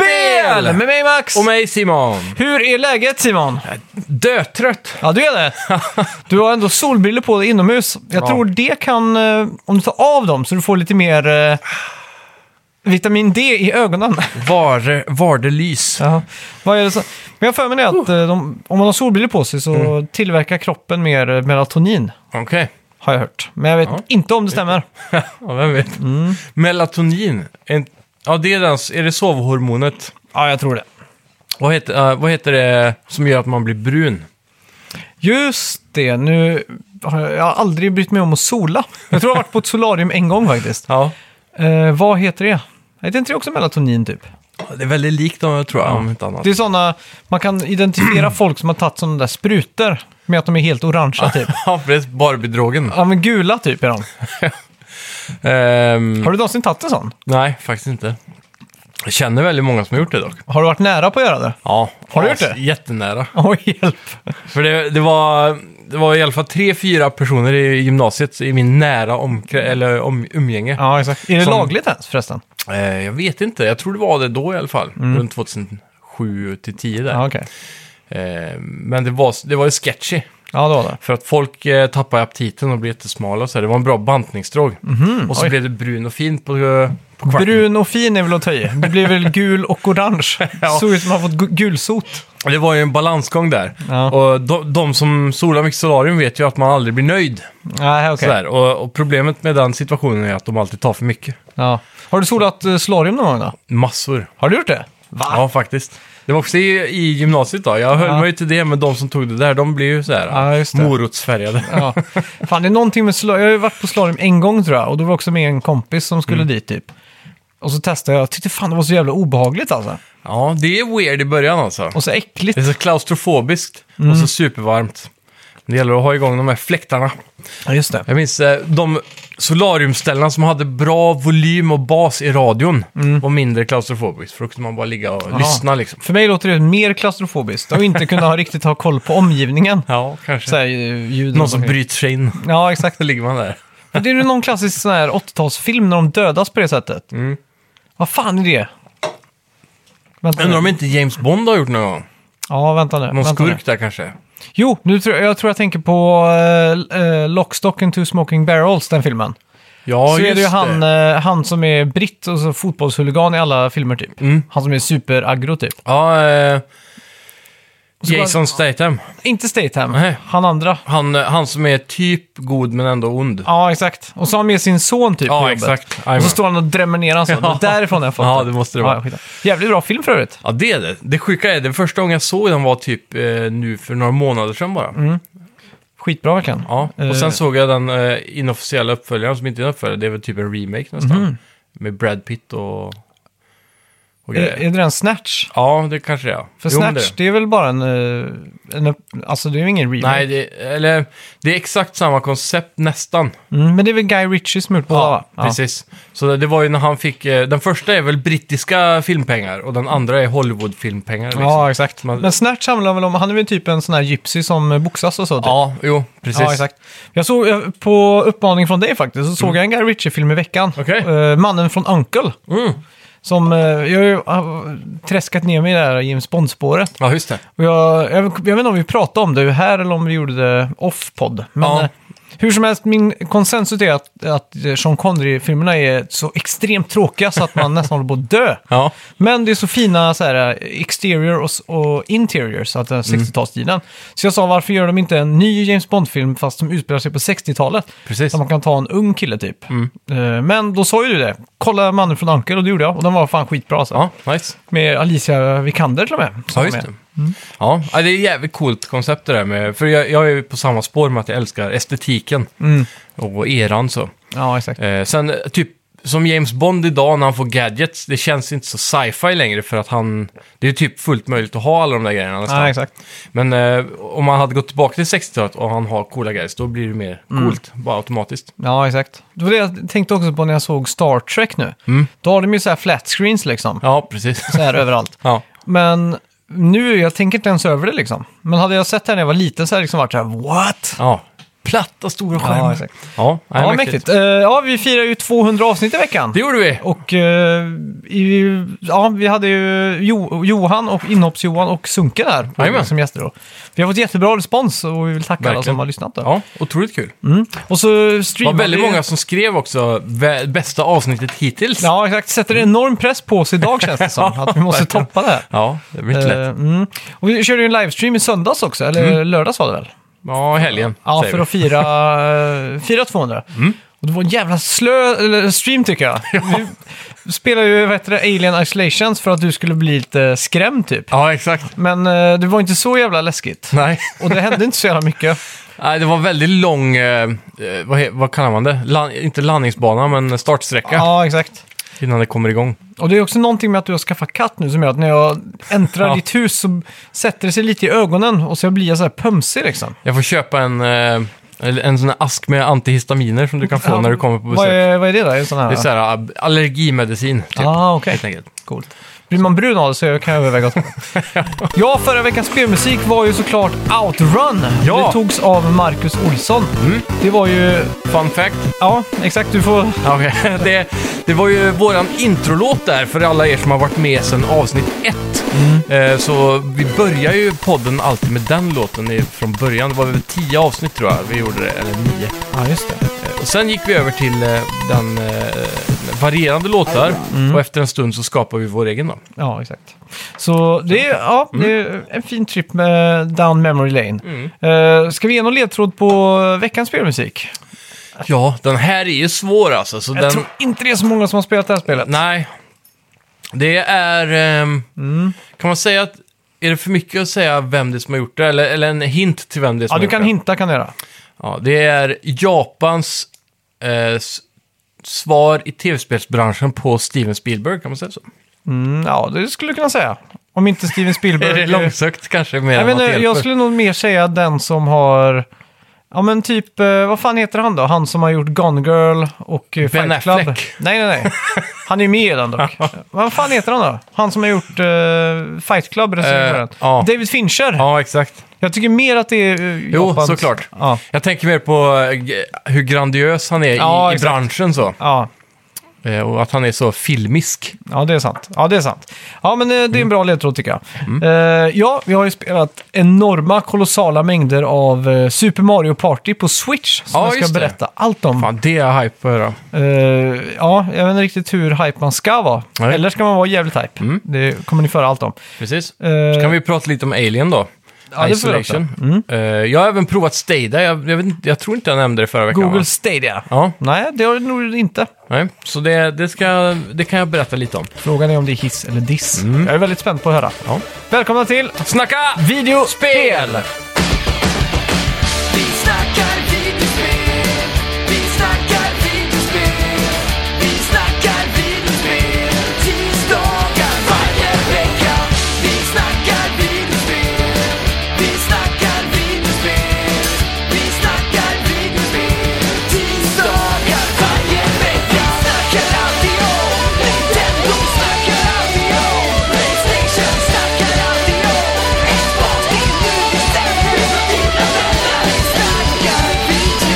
Daniel. Med mig Max! Och mig Simon. Hur är läget Simon? Dötrött. Ja, du är det. Du har ändå solbriller på dig inomhus. Jag Ja. tror det kan, eh, om du tar av dem så du får lite mer eh, vitamin D i ögonen. Var, var det lys. Ja. Vad är det så? Men jag har för mig det att Uh. eh, de, om man har solbriller på sig så Mm. tillverkar kroppen mer eh, melatonin. Okej. Har jag hört. Men jag vet Ja. inte om det stämmer. Ja, vem vet. Melatonin. En, ja, det är, den, är det sovhormonet. Ja, jag tror det. Vad heter, eh, vad heter det som gör att man blir brun? Just det, nu har jag, jag har aldrig brytt mig om att sola. Jag tror jag har varit på ett solarium en gång faktiskt. Ja. Eh, vad heter det? Heter inte det också melatonin typ? Det är väldigt likt dem, jag tror jag, om inte annat. Det är sådana, man kan identifiera folk som har tagit sådana där sprutor med att de är helt orangea typ. Ja, precis. Barbiedrogen. Ja men gula typ är de. Ehm, Har du någonsin tagit en sån? nej, faktiskt inte. Jag känner väldigt många som har gjort det dock. Har du varit nära på att göra det? Ja. Har du gjort det? Jättenära. Oj, hjälp. För det, det, var, det var i alla fall tre, fyra personer i gymnasiet i min nära omkrä, eller om, umgänge. Ja, exakt. Är det Som- lagligt ens förresten? Eh, jag vet inte, jag tror det var det då i alla fall. Runt 2007 till 10 där. Mm. Ja, okej. Eh, men det var, det var ju sketchy. Ja, det var det. För att folk eh, tappade aptiten och blev jättesmala och så här. Det var en bra bantningsdrog. och så Mhm, oj. blev det brun och fin på, eh, på kvarten. Brun och fin är väl att ta i. Det blir väl gul och orange. Ja. Såg ut som att man fått gu- gulsot. Och Det var ju en balansgång där. Ja. Och de, de som solar mycket solarium vet ju att man aldrig blir nöjd. Nej, okej. Sådär. Och, och problemet med den situationen är att de alltid tar för mycket. Ja. Har du solat eh, solarium någon gång då? Massor. Har du gjort det? Va? Ja, faktiskt. Det var också i, i gymnasiet då. Jag höll Ah. Ja. mig till det, men de som tog det där, de blev ju så här Ja, just det. morotsfärgade. Ja. Fan, det är någonting med slalom. Jag har ju varit på slalom en gång tror jag. Och då var jag också med en kompis som Mm. skulle dit typ. Och så testade jag. Jag tyckte fan det var så jävla obehagligt alltså. Ja, det är weird i början alltså. Och så äckligt. Det är så klaustrofobiskt och Mm. så supervarmt. Det gäller att ha igång de här fläktarna. Ja, just det. Jag minns eh, de solariumställena som hade bra volym och bas i radion Mm. var mindre klaustrofobiskt. För då kunde man bara ligga och lyssna liksom. För mig låter det mer klaustrofobiskt. Och inte kunna ha riktigt ha koll på omgivningen. Ja, kanske. Så här, eh, ljud Någon som bryr bryter sig in. Ja, exakt. Då ligger man där. Men det är ju någon klassisk sån här 80-talsfilm när de dödas på det sättet. Mm. Vad fan är det? Vänta Undrar om nu. inte James Bond har gjort någon gång. Ja, vänta nu. Någon vänta nu. skurk där kanske. Jo, nu tror jag, jag tror jag tänker på eh, eh, Lockstock and two smoking barrels, den filmen. Ja, så är just det ju han, eh, han som är britt och så fotbollshuligan i alla filmer typ. Mm. Han som är superaggro typ. Ja, eh, Så Jason Statham. Inte Statham, Nej. han andra. Han, eh, han som är typ god men ändå ond. Ja, exakt. Och så har han med sin son typ på Ja, jobbet. exakt. Och så Jajamän. står han och drämmer ner honom så. Ja. Det är därifrån jag har fått Ja, det måste det vara. Ja, skitsamma. Jävligt bra film för övrigt. Ja, det är det. Det sjuka är det. Första gången jag såg den var typ eh, nu för några månader sedan bara. Skitbra verkligen. Ja, och Mm. Eh. sen såg jag den eh, inofficiella uppföljaren som inte är en uppföljare. Det är väl typ en remake nästan. Mm. Med Brad Pitt och, och Är, grejer. är det den Snatch? Ja, det kanske det är. Eh, För Jo, men Snatch, det- det är väl bara en, eh, en... upp- Alltså det är ju ingen remake. Nej, det, eller, det är exakt samma koncept nästan. Mm, men det är väl Guy Ritchie som har gjort båda va? precis. Så det, det var ju när han fick... Eh, den första är väl brittiska filmpengar och den andra är Hollywood-filmpengar. Liksom. Ja, exakt. Man- Men Snatch handlar väl om, han är väl typ en sån här gypsy som eh, boxas och så? Typ. ja, jo, precis. Ja, exakt. Jag såg, eh, på uppmaning från dig faktiskt, så såg jag en Guy Ritchie-film i veckan. Mm. Okej. Eh, Mannen från Uncle. Mm. Som, eh, jag har ju eh, träskat ner mig i det här James Bond-spåret. Ja, just det. Och jag, jag, jag vet inte om vi pratade om det här eller om vi gjorde det off-podd. Men Ja. eh, hur som helst, min konsensus är att, att eh, Sean Connery-filmerna är så extremt tråkiga så att man nästan håller på att dö. Ja, Men det är så fina så här, eh, exterior och, s- och interior, så att den Mm. 60-talstiden. Så jag sa, varför gör de inte en ny James Bond-film fast som utspelar sig på 60-talet? precis. Mm. Så man kan ta en ung kille typ. Eh, Men då sa ju du det. Kolla Mannen från Ankel och det gjorde jag. Och den var fan skitbra alltså. Ja, nice. Med Alicia Vikander till och med. som Ja, var just med. det. Ja, ja, det är ett jävligt coolt koncept det där med... För jag, jag är ju på samma spår med att jag älskar estetiken Mm. och eran så. Ja, exakt. Eh, sen eh, typ som James Bond idag när han får gadgets, det känns inte så sci-fi längre för att han... Det är typ fullt möjligt att ha alla de där grejerna nästan. Ja, exakt. Men eh, om man hade gått tillbaka till 60-talet och han har coola guys, då blir det mer Mm. coolt. Bara automatiskt. Ja, exakt. Det var det jag tänkte också på när jag såg Star Trek nu. Då har de ju så här flat screens liksom. Mm. Ja, precis. Så här överallt. ja. Men nu, jag tänker inte ens över det liksom. Men hade jag sett det här när jag var liten så hade jag liksom varit så här, what? ja. platta stora Ja, skärmar. exakt. Ja, nej, ja mäktigt. Eh, ja, vi firar ju 200 avsnitt i veckan. Det gjorde vi. Och eh, i, ja, vi hade ju jo, Johan och Inhopps-Johan och Sunke där på- Jajamän. som gäster. Då. Vi har fått jättebra respons och vi vill tacka alla Verkligen. som har lyssnat. Då. Ja, otroligt kul. Mm. Och så Det var streamade väldigt vi- många som skrev också "Vä- bästa avsnittet hittills. Ja, exakt. Sätter enorm press på oss idag känns det som. Att vi måste verkligen. toppa det här. Ja, det blir inte lätt. Mm. Eh, mm. Och vi körde ju en livestream i söndags också, eller lördags var det väl? Ja, helgen Ja, säger för vi. Mm. att fira, eh, fira 200. Och det var en jävla slö eller, stream tycker jag. Vi spelade ju vad heter det, Alien Isolations för att du skulle bli lite skrämd typ. Ja, exakt. Men eh, det var inte så jävla läskigt. Nej. Och det hände inte så jävla mycket. Nej, det var väldigt lång, eh, eh, vad, he- vad kallar man det? Lan, inte landningsbana, men startsträcka Ja, exakt. innan det kommer igång. Och det är också någonting med att du har skaffat katt nu som gör att när jag äntrar Ja. ditt hus så sätter det sig lite i ögonen och så blir jag så här pömsig liksom. Jag får köpa en, eh, eller en sån här ask med antihistaminer som du kan få Ja. när du kommer på besök. Vad är, vad är det då? Är det sån här? Det är så här ab- allergimedicin, typ. ah, okej. Helt enkelt. Coolt. Blir man brun av det så kan jag överväga att Ja, förra veckans spelmusik var ju såklart Outrun. Ja. Mm. Det togs av Marcus Olsson. Det var ju... Fun fact. Ja, exakt. Du får... Ja, okej. Det, det var ju våran introlåt där för alla er som har varit med sedan avsnitt ett. Mm. Eh, Så vi börjar ju podden alltid med den låten i- från början. Det var väl tio avsnitt tror jag vi gjorde det, eller nio. Ja, just det. Eh, Och sen gick vi över till eh, den eh, varierande låtar Mm. och efter en stund så skapar vi vår egen då. Ja, exakt. Så det är, ja, Mm. det är en fin trip med down memory lane. Eh, ska vi ge någon ledtråd på veckans spelmusik? Ja, den här är ju svår alltså. Så Jag den... tror inte det är så många som har spelat det här spelet. Nej. Det är... ehm, Mm. Kan man säga att... Är det för mycket att säga vem det är som har gjort det? Eller, eller en hint till vem det är som Ja, har du gjort kan det? hinta kan du göra. Ja, det är Japans eh, s- svar i tv-spelsbranschen på Steven Spielberg, kan man säga så? Mm, ja, det skulle du kunna säga. Om inte Steven Spielberg... Är det långsökt kanske? Mer Jag, än vet, att inte, det jag hjälper? skulle nog mer säga den som har... Ja men typ, eh, vad fan heter han då? Han som har gjort Gone Girl och eh, Ben Fight Club. Affleck. Nej, nej, nej. Han är ju med i den dock. vad fan heter han då? Han som har gjort eh, Fight Club Eh, recensionen. ja. David Fincher. Ja, exakt. Jag tycker mer att det är uh, Jo, såklart. Ja. Jag tänker mer på eh, g- hur grandiös han är Ja, i, i exakt. branschen så. Ja. Eh, och att han är så filmisk. ja, det är sant. Ja, det är sant. Ja, men eh, det är Mm. en bra ledtråd tycker jag. Eh, ja, vi har ju spelat enorma, kolossala mängder av eh, Super Mario Party på Switch. Som Ja, jag just ska det. berätta allt om. Fan, det är jag hype på att höra. Eh, ja, jag vet inte riktigt hur hype man ska vara. Nej. Eller ska man vara jävligt hype? Det kommer ni föra allt om. Precis. Eh, Så kan vi prata lite om Alien då. Ja, det får vi Mm. Isolation. Eh, jag har även provat Stadia. Jag, jag, vet inte, jag tror inte jag nämnde det förra veckan. Google va? Stadia. Ja, Nej, det har det nog inte. nej. Så det, det, ska, det kan jag berätta lite om. Frågan är om det är hiss eller diss. Jag är väldigt spänd på att höra. Mm. Ja. Välkomna till Snacka! Videospel! Vi snackar videospel, vi snackar videospel, vi snackar videospel, tisdagar varje vecka. Vi snackar videospel, vi snackar videospel, vi snackar videospel, tisdagar varje vecka. Snackar alltid om Nintendo, snackar alltid om Playstation, snackar alltid om Xbox, det är nu vi sätter dina vänner. Vi snackar video.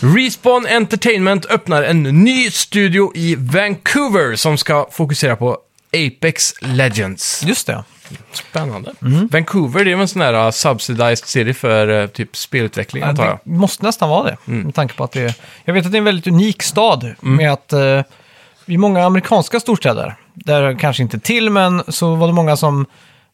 Respawn Entertainment öppnar en ny studio i Vancouver som ska fokusera på Apex Legends. Just det. Spännande. Mm. Vancouver, det är väl en sån här uh, subsidized city för eh, typ spelutveckling antar jag. Mm. Det måste nästan vara det. Med tanke på att det är... Jag vet att det är en väldigt unik stad. Med att eh, i många amerikanska storstäder, där kanske inte till, men så var det många som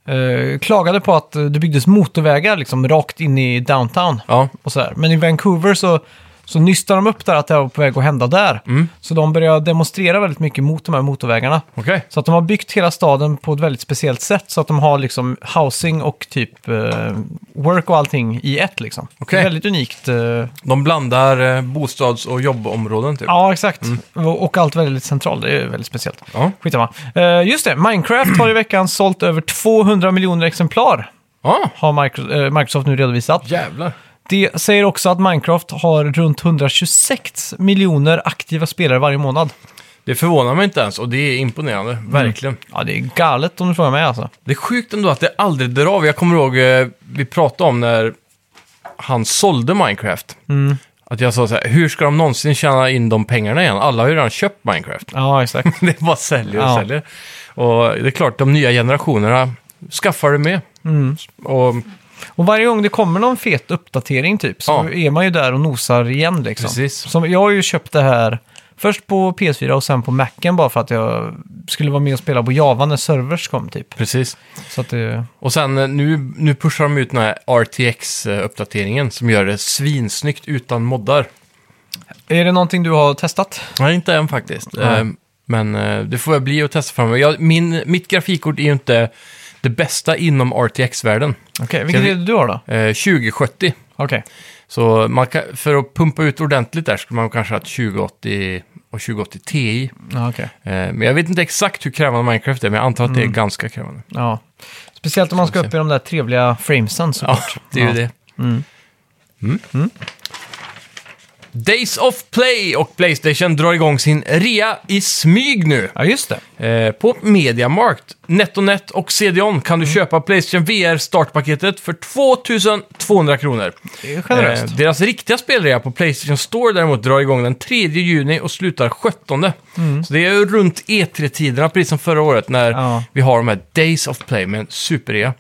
eh, klagade på att eh, det byggdes motorvägar liksom rakt in i downtown. Ja, Och sådär. Men i Vancouver så, så nystar de upp där att det var på väg att hända där. Mm. Så de börjar demonstrera väldigt mycket mot de här motorvägarna. okej. Så att de har byggt hela staden på ett väldigt speciellt sätt. Så att de har liksom housing och typ eh, work och allting i ett liksom. Okej. Det är väldigt unikt. Eh, De blandar eh, bostads och jobbområden typ. ja, exakt. Och, och allt väldigt centralt. Det är väldigt speciellt. Ja. Skitsamma. Eh, just det, Minecraft har i veckan sålt över 200 miljoner exemplar. Ja, Har Micro- eh, Microsoft nu redovisat. Ah. jävlar. Det säger också att Minecraft har runt 126 miljoner aktiva spelare varje månad. Det förvånar mig inte ens och det är imponerande, Mm. verkligen. Ja, det är galet om du frågar mig alltså. Det är sjukt ändå att det aldrig drar av. Jag kommer ihåg, eh, vi pratade om när han sålde Minecraft. Att jag sa så här, hur ska de någonsin tjäna in de pengarna igen? Alla har ju redan köpt Minecraft. Ja, exakt. det bara säljer och Ja. säljer. Och det är klart, de nya generationerna skaffar det med. Och, Och varje gång det kommer någon fet uppdatering typ så Ja. är man ju där och nosar igen liksom. Precis. Som, jag har ju köpt det här först på PS4 och sen på Macen bara för att jag skulle vara med och spela på Java när servers kom typ. precis. Så att det... Och sen eh, nu, nu pushar de ut den här RTX-uppdateringen eh, som gör det svinsnyggt utan moddar. Är det någonting du har testat? Nej, inte än faktiskt. Nej. Eh, Men eh, det får jag bli att testa framöver. Jag, min, mitt grafikkort är ju inte det bästa inom RTX-världen. Okej, vilket vi- är det du har då? Eh, 2070. Okej. Så man kan, för att pumpa ut ordentligt där skulle man kanske ha ett 2080 och 2080 Ti. Ja, okej. Eh, Men jag vet inte exakt hur krävande Minecraft är, men jag antar att det är ganska krävande. Ja. Speciellt om man ska upp i de där trevliga framesen så. Ja, det är ju det. Mm. Days of Play och Playstation drar igång sin rea i smyg nu. Ja, just det. Eh, på Mediamarkt, NetOnNet och CDON kan Mm. du köpa Playstation VR startpaketet för 2200 kronor. Det är generöst. Eh, deras riktiga spelrea på Playstation Store däremot drar igång den 3 juni och slutar 17. Så det är ju runt E3-tiderna, precis som förra året när Mm. Ja. Mm. vi har de här Days of Play med en superrea.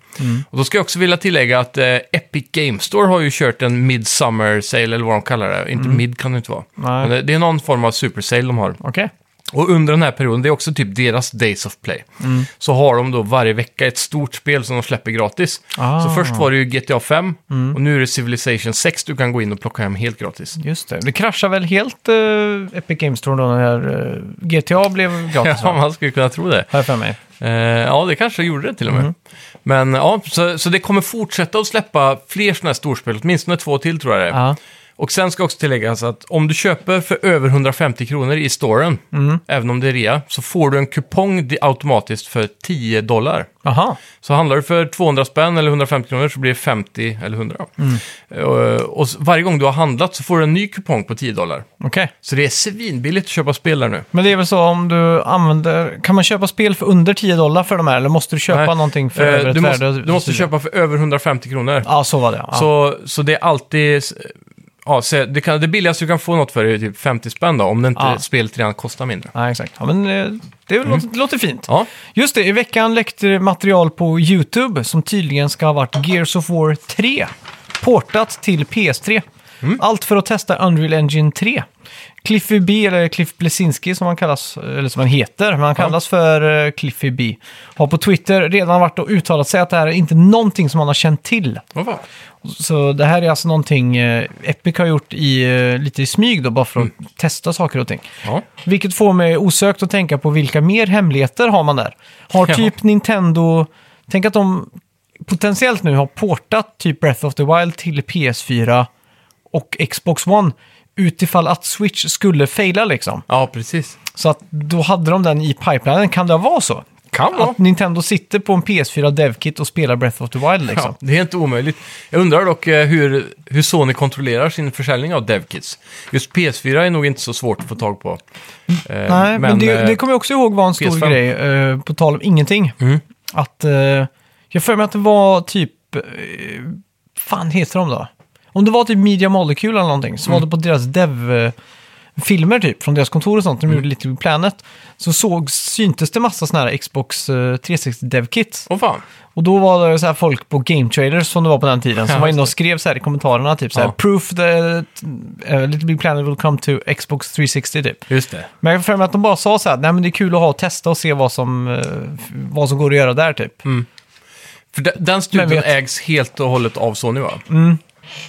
Och då ska jag också vilja tillägga att eh, Epic Game Store har ju kört en Midsummer Sale, eller vad de kallar det. Inte mid kan det inte vara. Mm. Nej. Men det, det är någon form av super sale de har. Okej. Och under den här perioden, det är också typ deras Days of Play, Mm. så har de då varje vecka ett stort spel som de släpper gratis. Ah. Mm. Så först var det ju GTA 5 och nu är det Civilization 6 du kan gå in och plocka hem helt gratis. Just det. Det kraschar väl helt eh, Epic Games Store då när eh, GTA blev gratis? Ja, va? man skulle kunna tro det. Har jag för mig. Eh, ja, det kanske gjorde det till och med. Mm. Men ja, så, så det kommer fortsätta att släppa fler sådana här storspel, åtminstone två till tror jag det är. Ja. Och sen ska också tilläggas att om du köper för över 150 kronor i storen, Mm. även om det är rea, så får du en kupong di- automatiskt för 10 dollar. Aha. Så handlar du för 200 spänn eller 150 kronor så blir det 50 eller 100. Mm. Eh, Och s- varje gång du har handlat så får du en ny kupong på 10 dollar. Okej. Så det är svinbilligt att köpa spel där nu. Men det är väl så om du använder... Kan man köpa spel för under 10 dollar för de här? Eller måste du köpa Nej. någonting för Eh, över ett du, måste, värde? du måste köpa för över 150 kronor. Ja, så var det. Ja. Så, så det är alltid... s- Ja, så det, kan, det billigaste du kan få något för är typ 50 spänn då, om det inte Ja. spelet redan kostar mindre. Ja, exakt. Ja, men eh, det låter, låter fint. Mm. Ja, Just det, i veckan läckte material på YouTube som tydligen ska ha varit Gears of War 3. Portat till PS3. Allt för att testa Unreal Engine 3. Cliffy B, eller Cliff Blesinski som han kallas, eller som han heter, men han kallas för eh, Cliffy B. Har på Twitter redan varit och uttalat sig att det här är inte någonting som han har känt till. vad fan. Så det här är alltså någonting eh, Epic har gjort i, eh, lite i smyg då, bara för att testa saker och ting. Ja. Vilket får mig osökt att tänka på vilka mer hemligheter har man där? Har Ja. typ Nintendo... Tänk att de potentiellt nu har portat typ Breath of the Wild till PS4 och Xbox One utifall att Switch skulle faila liksom. ja, precis. Så att då hade de den i pipelinen. Kan det vara så? Kan vara. Att Nintendo sitter på en PS4 DevKit och spelar Breath of the Wild liksom. Ja, det är inte omöjligt. Jag undrar dock eh, hur, hur Sony kontrollerar sin försäljning av DevKits. Just PS4 är nog inte så svårt att få tag på. Eh, Nej, men, det, eh, det kommer jag också ihåg var en stor PS5. grej, eh, på tal om ingenting. Mm. Att, eh, jag för mig att det var typ, eh, fan heter de då? Om det var typ Media Molecule eller någonting, så Mm. var det på deras dev... eh, filmer typ, från deras kontor och sånt, Mm. de gjorde Little Planet, så såg, syntes det massa sådana här Xbox eh, 360 Dev-kits. Åh fan. Och då var det så här folk på Game Traders som det var på den tiden som Ja, var just inne och skrev så här i kommentarerna typ så här Ja. “Proof that eh, Little Big Planet will come to Xbox 360” typ. Just det. Men jag har för mig att de bara sa så här, nej men det är kul att ha och testa och se vad som, eh, f- vad som går att göra där typ. För de, den studion Men vet- Mm. ägs helt och hållet av Sony va?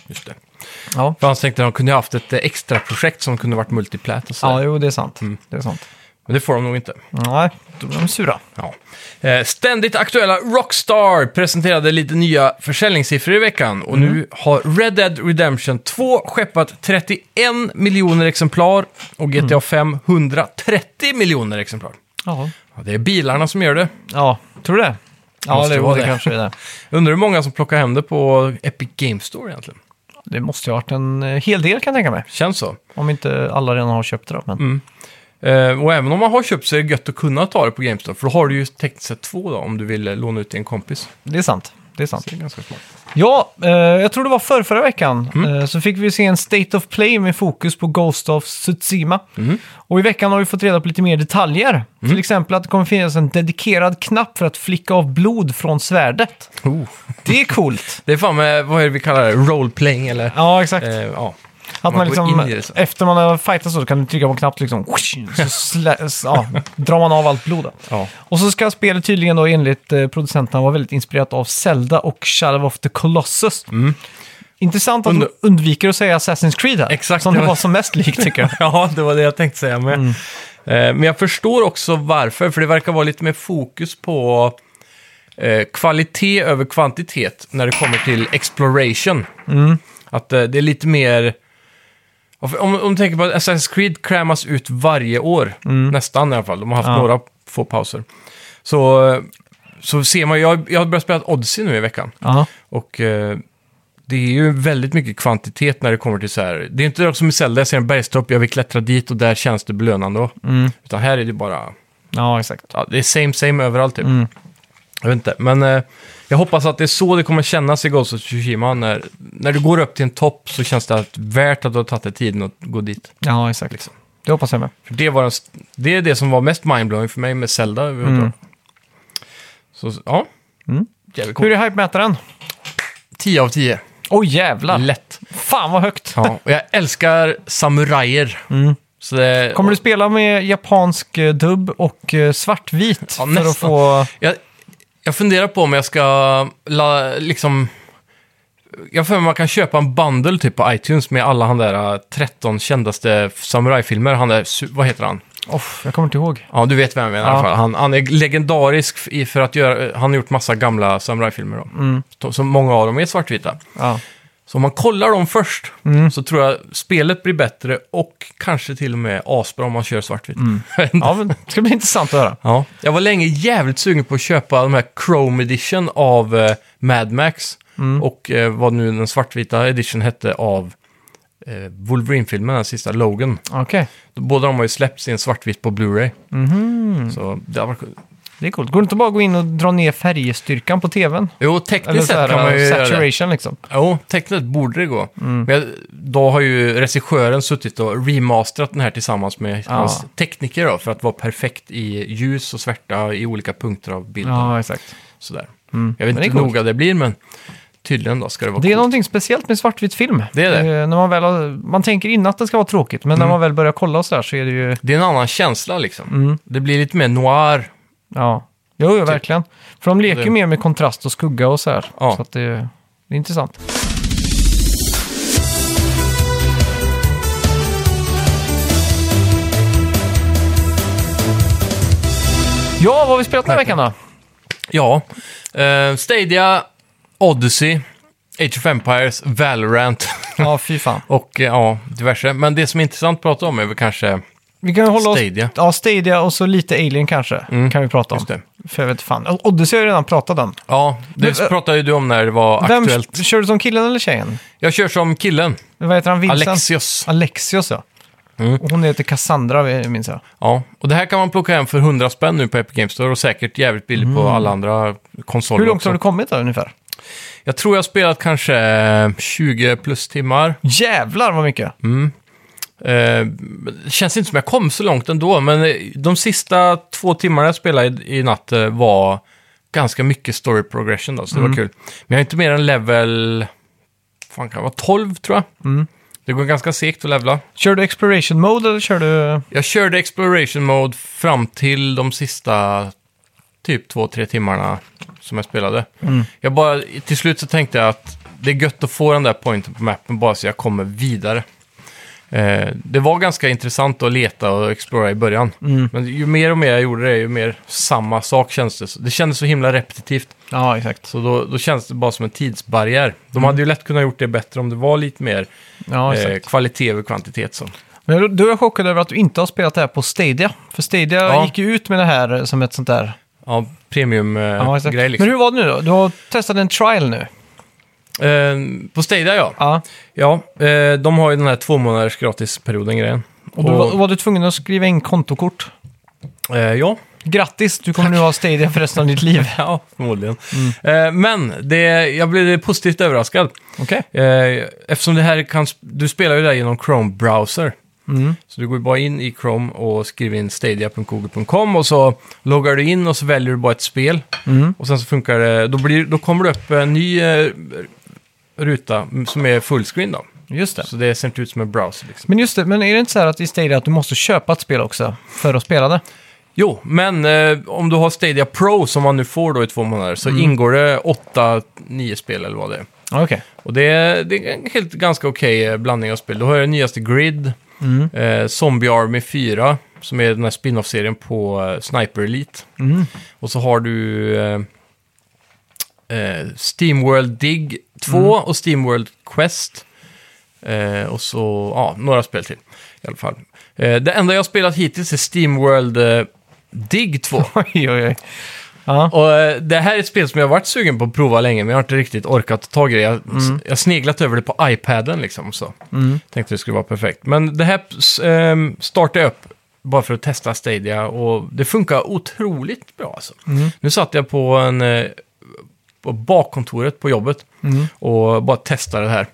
Just det. Ja. För han tänkte att de kunde ha haft ett eh, extra projekt som kunde varit multiplat och så. Ja, jo det är sant. Det är sant. Men det får de nog inte. Nej, Mm. då blir de sura. Ja. Eh, Ständigt aktuella Rockstar presenterade lite nya försäljningssiffror i veckan och nu har Red Dead Redemption 2 skeppat 31 miljoner exemplar och GTA 5 130 miljoner exemplar. Ja, Ja, det är bilarna som gör det. ja tror du det? Ja, Måste det, vara det det. kanske är det. Undrar hur många som plockar hem det på Epic Games Store egentligen. Det måste ju ha varit en eh, hel del kan jag tänka mig. Känns så. Mm. Om inte alla redan har köpt det då. Men... Eh, och även om man har köpt så är det gött att kunna ta det på GameStop. För då har du ju tekniskt sett två då, om du vill eh, låna ut till en kompis. Det är sant. Det är sant. Det är ganska smart. Ja, eh, jag tror det var förra, förra veckan eh, så fick vi se en State of Play med fokus på Ghost of Tsushima. Och i veckan har vi fått reda på lite mer detaljer. Till exempel att det kommer finnas en dedikerad knapp för att flicka av blod från svärdet. Oh. Det är coolt. Det är fan med, vad är det vi kallar det? Role-playing eller? ja, exakt. Eh, ja. Att man, man går liksom, in i det sen. efter man har fightat så kan du trycka på en knapp liksom, whoosh, så slä, så, ja, drar man av allt blod. då. Ja. Och så ska spelet tydligen då enligt eh, producenterna vara väldigt inspirerat av Zelda och Shadow of the Colossus. Intressant att Mm. Under- de undviker att säga Assassin's Creed här. Exakt, Som det det var- var som mest likt tycker jag. ja, det var det jag tänkte säga med. Eh, men jag förstår också varför, för det verkar vara lite mer fokus på eh, kvalitet över kvantitet när det kommer till exploration. Att eh, det är lite mer... Ja, för Om, om du tänker på att Assassin's Creed krämas ut varje år, nästan i alla fall. De har haft Ja. några få pauser. Så, eh, så ser man, jag, jag har börjat spela Odyssey nu i veckan. Ja, Och eh, det är ju väldigt mycket kvantitet när det kommer till så här. Det är inte som i Zelda, jag ser en bergstopp, jag vill klättra dit och där känns det belönande. då. Mm. Utan här är det bara, ja exakt. ja, det är same same överallt typ. Mm. Jag vet inte, men eh, jag hoppas att det är så det kommer kännas i Ghost of Tsushima. När, när du går upp till en topp så känns det att värt att du har tagit dig tiden att gå dit. Ja, exakt. Liksom. Det hoppas jag med. För det, var den, st- det är det som var mest mindblowing för mig med Zelda överhuvudtaget. Så ja, Mm. jävligt Hur coolt. är hype-mätaren? 10 av 10, Åh oh, jävlar! lätt. Fan vad högt! Ja, och jag älskar samurajer. Så det, Mm. Kommer du spela med japansk eh, dubb och eh, svartvit för Ja, nästan. att få... jag, jag funderar på om jag ska la, liksom... Jag har för mig att man kan köpa en bundle typ på iTunes med alla han där eh, 13 kändaste samurajfilmer. Han där, su- vad heter han? Off, jag kommer inte ihåg. Ja, du vet vem jag menar i Ja. alla fall. Han, han är legendarisk i- för att göra... Han har gjort massa gamla samurajfilmer då. Mm. To- Så många av dem är svartvita. Ja. Så om man kollar dem först Mm. så tror jag spelet blir bättre och kanske till och med asbra om man kör svartvitt. Mm. Ja, men det ska bli intressant att höra. Ja, jag var länge jävligt sugen på att köpa de här Chrome Edition av eh, Mad Max Mm. och eh, vad nu den svartvita edition hette av eh, Wolverine-filmen, den sista Logan. Okej, Båda de har ju släppts i en svartvit på Blu-ray. Mm-hmm. Så det har varit... det är coolt. Går det inte bara att gå in och dra ner färgstyrkan på tvn? Jo, Eller tekniskt så sett här, kan man ju göra det. saturation liksom. Jo, tekniskt borde det gå. Mm. Men jag, då har ju regissören suttit och remasterat den här tillsammans med Ja. hans tekniker då, för att vara perfekt i ljus och svärta i olika punkter av bilden. Ja, exakt. Sådär. Jag vet Mm. Men det är inte hur coolt. noga det blir, men tydligen då ska det vara Det är coolt. någonting speciellt med svartvit film. Det är det. Mm. Eh, när man, väl har, man tänker innan att det ska vara tråkigt, men när man väl börjar kolla och sådär så är det ju... Det är en annan känsla liksom. Mm. Det blir lite mer noir. Ja, jo, Typ. jo verkligen. För de leker Det- ju mer med kontrast och skugga och sådär. Ja. Så att det, det är intressant. Ja, vad har vi spelat den här veckan då? Ja. Eh, Stadia, Odyssey, Age of Empires, Valorant Ja, fy fan. och eh, ja, diverse. Men det som är intressant att prata om är väl kanske... Vi kan hålla oss... Stadia. Mm. Ja, Stadia och så lite Alien kanske. Kan vi prata om. Just För jag vet fan. O- Odyssey har jag redan pratat om. Ja, det Men, eh, pratade ju du om när det var aktuellt. Vem kör du som killen eller tjejen? Jag kör som killen, Vad heter han? Vincent? Alexios. Mm. Alexios, ja. Och hon heter Cassandra, minns jag. Ja, och det här kan man plocka hem för 100 spänn nu på Epic Games Store och säkert jävligt billigt på alla andra konsoler Mm. Hur långt också. har du kommit då ungefär? Jag tror jag har spelat kanske 20 plus timmar. Jävlar vad mycket! Eh, det känns inte som jag kom så långt ändå, men eh, de sista två timmarna jag spelade i, i natt eh, var ganska mycket story progression då, så det var kul. Men jag är inte mer än level... fan kan det vara? 12 tror jag. Det går ganska segt att levla. Kör du exploration mode eller kör du... Jag körde exploration mode fram till de sista typ två, tre timmarna som jag spelade. Mm. Jag bara, till slut så tänkte jag att det är gött att få den där pointen på mappen bara så jag kommer vidare. Eh, det var ganska intressant att leta och explora i början. Mm. Men ju mer och mer jag gjorde det, ju mer samma sak kändes det. Det kändes så himla repetitivt. Ja, exakt. Så då, då kändes det bara som en tidsbarriär. De hade ju lätt kunnat gjort det bättre om det var lite mer Mm. Ja, exakt. eh, kvalitet över kvantitet. Så. Men då- då är jag chockad över att du inte har spelat det här på Stadia. För Stadia Ja. gick ju ut med det här eh, som ett sånt där... Ja, premiumgrej eh, Ja, exakt. grej liksom. Men hur var det nu då? Du har testat en trial nu. Eh, på Stadia ja. Ja. Ja, eh, de har ju den här två månaders gratisperioden grejen. Och då Och- var, var du tvungen att skriva in kontokort. Eh, ja. Grattis, du kommer nu ha Stadia för resten av ditt liv. ja, förmodligen. Mm. Eh, men det, jag blev positivt överraskad. Okej. Eh, eftersom det här kan... sp- Du spelar ju det här genom Chrome Browser. Mm. Så du går ju bara in i Chrome och skriver in stadia.google.com och så loggar du in och så väljer du bara ett spel. Mm. Och sen så funkar det... Då, blir, då kommer det upp en ny eh, ruta mm, som är fullscreen då. Just det. Så det ser inte ut som en browser liksom. Men just det, men är det inte så här att i Stadia att du måste köpa ett spel också för att spela det? Jo, men eh, om du har Stadia Pro som man nu får då i två månader så ingår det åtta, nio spel eller vad det är. Ja, Okej. Och det är, det är en helt ganska okej eh, blandning av spel. Du har ju den nyaste Grid, eh, Zombie Army 4, som är den här spin-off-serien på eh, Sniper Elite. Och så har du eh, eh, Steamworld Dig 2 och Steamworld Quest. Eh, och så, ja, några spel till i alla fall. Eh, det enda jag har spelat hittills är Steamworld eh, Dig 2. Oj, oj, oj. Ja, Och eh, det här är ett spel som jag har varit sugen på att prova länge, men jag har inte riktigt orkat ta tag i det. Jag, Mm. jag har sneglat över det på iPaden liksom. Så. Tänkte det skulle vara perfekt. Men det här s- ehm, startade jag upp bara för att testa Stadia och det funkar otroligt bra alltså. Mm. Nu satt jag på en... eh, På bakkontoret på jobbet mm, och bara testade det här.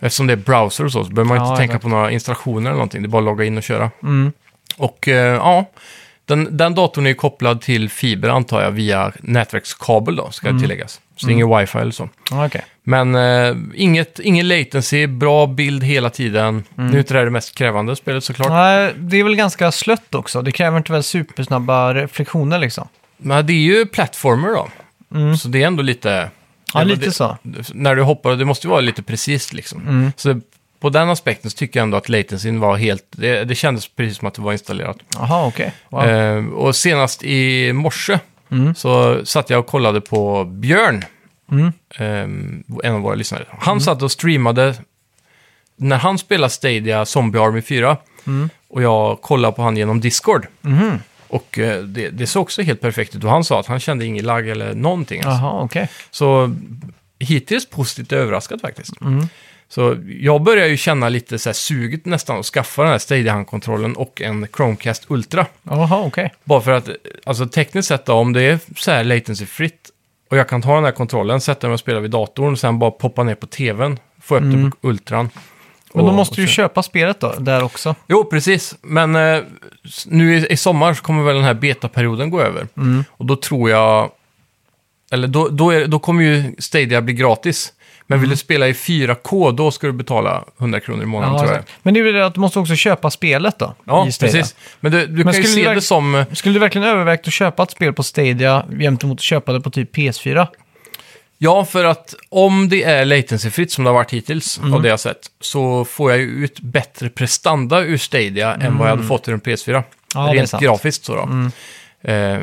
Eftersom det är browser och så, så behöver man Ja, inte tänka exakt. på några installationer eller någonting. Det är bara att logga in och köra. mm. Och eh, ja, den, den datorn är ju kopplad till fiber antar jag via nätverkskabel då, Mm. ska tilläggas. Så det är ingen wifi eller så. ja, okej. Men eh, inget, ingen latency, bra bild hela tiden. Mm. Nu är inte det här det mest krävande spelet såklart. Nej, det är väl ganska slött också. Det kräver inte väl supersnabba reflektioner liksom. Men det är ju plattformer då. Så det är ändå lite... Mm. Ja, ändå lite det, så. Mm. När du hoppar, det måste ju vara lite precis liksom. Så det, på den aspekten så tycker jag ändå att latencyn var helt... Det, det kändes precis som att det var installerat. Jaha, okej. Wow. Eh, och senast i morse så satt jag och kollade på Björn, eh, en av våra lyssnare. Han satt och streamade när han spelade Stadia Zombie Army 4 och jag kollade på han genom Discord. Och eh, det, det såg också helt perfekt ut och han sa att han kände ingen lagg eller någonting. Alltså. Jaha, okej. Så hittills positivt överraskad faktiskt. Så jag börjar ju känna lite så här suget nästan att skaffa den här Stadia-handkontrollen och en Chromecast Ultra. Jaha, okej. Bara för att, alltså tekniskt sett då, om det är så här latency-fritt och jag kan ta den här kontrollen, sätta mig och spela vid datorn och sen bara poppa ner på tvn, få upp det på ultran. Mm. Men då och- måste och du ju så- köpa spelet då, där också. Jo, precis. Men eh, s- nu i, i sommar så kommer väl den här betaperioden gå över. Mm. Och då tror jag... Eller då, då, är, då kommer ju Stadia bli gratis. Men Mm. vill du spela i 4K, då ska du betala 100 kronor i månaden tror jag. exakt. Men det är väl det att du måste också köpa spelet då? Ja, i Stadia. precis. Men du, du kan ju skulle du se verk- det som... eh, Skulle du verkligen övervägt att köpa ett spel på Stadia gentemot att köpa det på typ PS4? Ja, för att om det är latencyfritt som det har varit hittills Mm. av det jag har sett så får jag ju ut bättre prestanda ur Stadia än vad jag hade fått ur en PS4. Mm. Ja, det är Rent sant. Mm. grafiskt så då. Eh,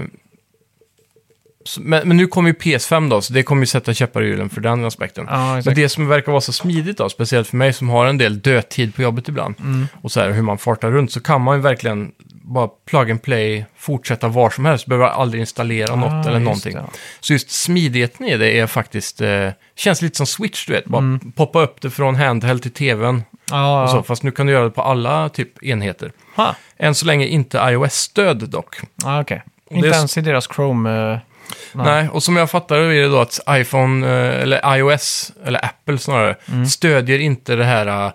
så- men, men nu kommer ju PS5 då, så det kommer ju sätta käppar i hjulen för den aspekten. Ja, exakt. men det som verkar vara så smidigt då, speciellt för mig som har en del dödtid på jobbet ibland, Mm. och så här hur man fartar runt, så kan man ju verkligen bara plug and play, fortsätta var som helst, behöver aldrig installera Ah, något eller just någonting. det. Så just smidigheten i det är faktiskt, eh, känns lite som Switch du vet, bara poppa upp det från handheld till tvn Mm. Ja, och så, fast nu kan du göra det på alla typ enheter. Ha. Än så länge inte iOS-stöd dock. Ah, okej. det Inte är s- ens i deras Chrome... eh, Ja. Nej, och som jag fattar det är det då att iPhone, eh, eller iOS, eller Apple snarare, Mm. stödjer inte det här eh,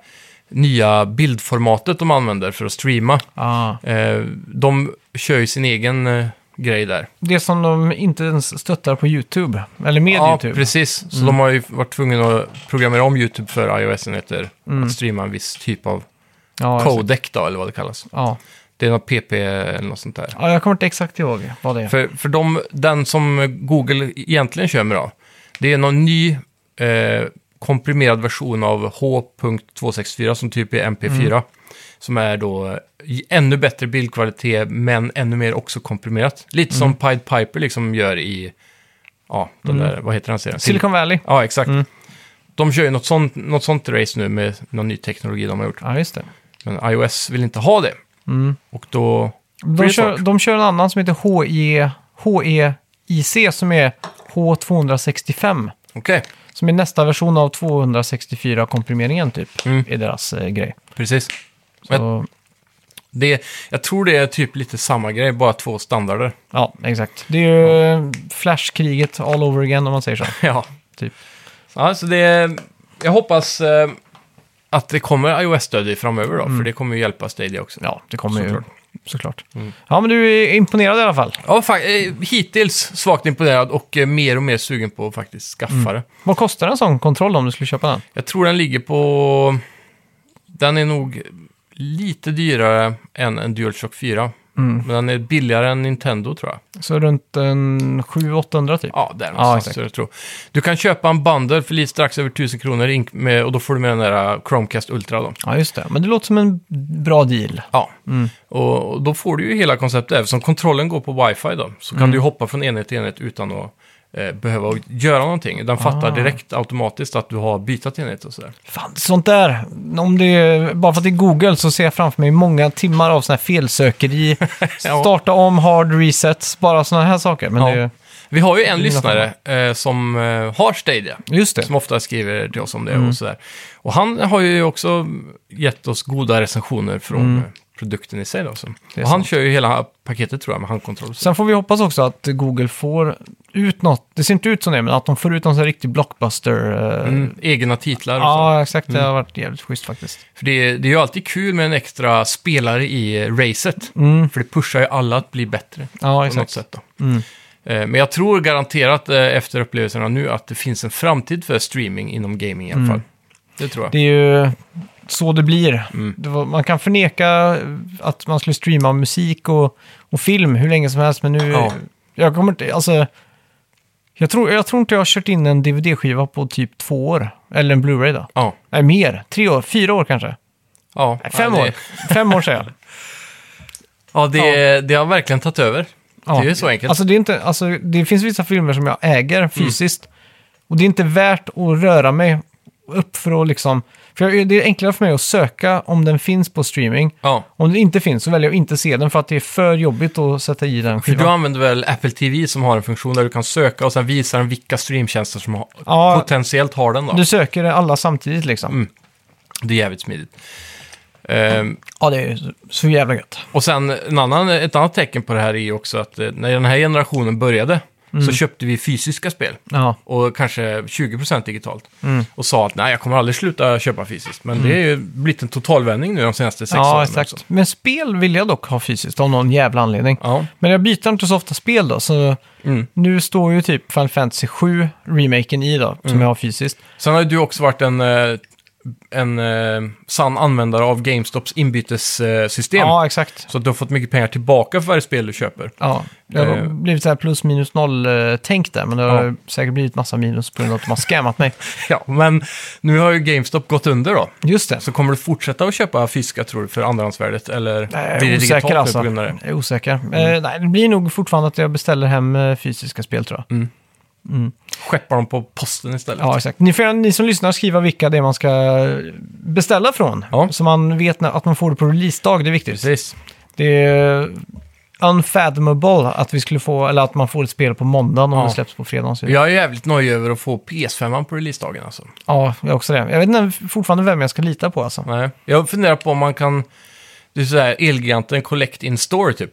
nya bildformatet de använder för att streama. ah. Eh, De kör ju sin egen eh, grej där. Det som de inte ens stöttar på YouTube. Eller med Ja, YouTube. Mm. precis. Så de har ju varit tvungna att programmera om YouTube för iOS-enheter. Att streama en viss typ av Mm. Ja, exakt. codec då, eller vad det kallas. Ja. Det är något PP eller något sånt där. ja, jag kommer inte exakt ihåg vad det är. För, för de, den som Google egentligen kör med då, det är någon ny eh, komprimerad version av H.264 som typ är MP4. Mm. Som är då eh, ännu bättre bildkvalitet men ännu mer också komprimerat. Lite som Mm. Pied Piper liksom gör i, ja, den där, vad heter den serien? Silicon Mm. Valley. Ja, exakt. De kör ju något sånt, något sånt race nu med någon ny teknologi de har gjort. Ja, just det. Men iOS vill inte ha det. Och då... blir Mm. De det kör, svårt. de kör en annan som heter E- HE, HEIC som är H265. Okej, Som är nästa version av 264-komprimeringen typ. Mm. Är deras eh, grej. precis. Så, Det, jag tror det är typ lite samma grej, bara två standarder. Ja, exakt. Det är ju eh, flashkriget all over again om man säger så. Ja, Typ. ja så det... Jag hoppas eh, att det kommer iOS-stöd i framöver då, för det kommer ju hjälpa Stadia också. Ja, det kommer Såklart. ju. Såklart. Ja, men du är imponerad i alla fall. Ja, fa- eh, hittills svagt imponerad och eh, mer och mer sugen på att faktiskt skaffa det. Vad kostar en sån kontroll om du skulle köpa den? Jag tror den ligger på... Den är nog lite dyrare än en DualShock 4. Men den är billigare än Nintendo tror jag. Så runt en 700-800 typ? Ja, där någonstans. exakt. tror jag, tror. Du kan köpa en bundle för lite strax över 1000 kronor ink- med, och då får du med den där äh, Chromecast Ultra då. Ja, just det. Men det låter som en bra deal. Ja, och, och då får du ju hela konceptet. Eftersom kontrollen går på wifi då, så kan du ju hoppa från enhet till enhet utan att eh, behöva göra någonting. Den fattar direkt automatiskt att du har bytt enhet och sådär. Fan, sånt där. Om det är, bara för att det är Google så ser jag framför mig många timmar av såna här felsökeri. Starta om, hard resets, bara såna här saker. Men Ja. det är, Vi har ju en lyssnare eh, som eh, har Stadia. just det. Som ofta skriver till oss om det Mm. och sådär. Och han har ju också gett oss goda recensioner från eh, produkten i sig då. Så. Mm. är Och han sant. kör ju hela paketet tror jag med handkontroll. och Så. Sen får vi hoppas också att Google får ut något. Det ser inte ut som det, men att de får ut någon sån här riktig blockbuster. eh, Mm, egna titlar och så. Ja, exakt. Mm. Det har varit jävligt schysst faktiskt. För det, det är ju alltid kul med en extra spelare i eh, racet. För det pushar ju alla att bli bättre. Mm, Ja, på något exakt. Mm. sätt då. Eh, Men jag tror garanterat eh, efter upplevelserna nu att det finns en framtid för streaming inom gaming i alla fall. Det tror jag. Mm. Det är ju så det blir. Mm. Det var, man kan förneka eh, att man skulle streama musik och, och film hur länge som helst, men nu... Ja. Jag kommer inte... Alltså, jag, tror, jag tror inte jag har kört in en DVD-skiva på typ två år. Eller en Blu-ray då. Ja. Nej, mer. Tre år. Fyra år kanske. Ja, Nej, fem ja, år. det, Fem år säger jag. Ja, det, det har verkligen tagit över. Ja. Det är ju så enkelt. Mm. Alltså, det, är inte, alltså, det finns vissa filmer som jag äger fysiskt. Och det är inte värt att röra mig upp för att liksom... För jag, det är enklare för mig att söka om den finns på streaming. ja. Om den inte finns så väljer jag att inte se den för att det är för jobbigt att sätta i den För du skivan. använder väl Apple TV som har en funktion där du kan söka och sen visar den vilka streamtjänster som har, Ja. potentiellt har den då. Du söker alla samtidigt liksom. Mm. Det är jävligt smidigt. Ehm, Ja, det är ju så jävla gött. och sen en annan, ett annat tecken på det här är ju också att eh, när den här generationen började Mm. så köpte vi fysiska spel. Ja, och kanske 20% digitalt. Mm. Och sa att nej, jag kommer aldrig sluta köpa fysiskt. Men det är ju blivit en totalvändning nu de senaste sex åren. ja också. exakt. Men spel vill jag dock ha fysiskt av någon jävla anledning. Ja. Men jag byter inte så ofta spel då, så Mm. nu står ju typ Final Fantasy 7 remaken i då, Mm. som jag har fysiskt. Sen har ju du också varit en, eh, en eh, sann användare av GameStops inbytessystem. Ja, exakt. Så att du har fått mycket pengar tillbaka för varje spel du köper. Ja, det har Eh. blivit så här plus minus noll-tänk där, men det har Ja. säkert blivit massa minus på grund av att de har scammat mig. Ja, men nu har ju GameStop gått under då. Just det. Så kommer du fortsätta att köpa fysiska tror du för andrahandsvärdet? Eller Nej, jag blir det är digitalt osäker nu alltså. på grund av det? Mm. Jag är osäker. Eh, nej, det blir nog fortfarande att jag beställer hem eh, fysiska spel tror jag. Skeppar dem på posten istället? Ja, exakt. Ni, får, ni som lyssnar skriva vilka det är man ska eh, beställa från. Ja. Så man vet när, att man får det på releasedag, det är viktigt. Precis. Det är unfathomable att vi skulle få, eller att man får ett spel på måndagen om Ja. det släpps på fredagen. Så. Ja. Jag är jävligt nöjd över att få PS5 på releasedagen alltså. jag är också det. Jag vet inte fortfarande vem jag ska lita på alltså. Nej, jag funderar på om man kan... Det är sådär Elgiganten Collect in Store typ.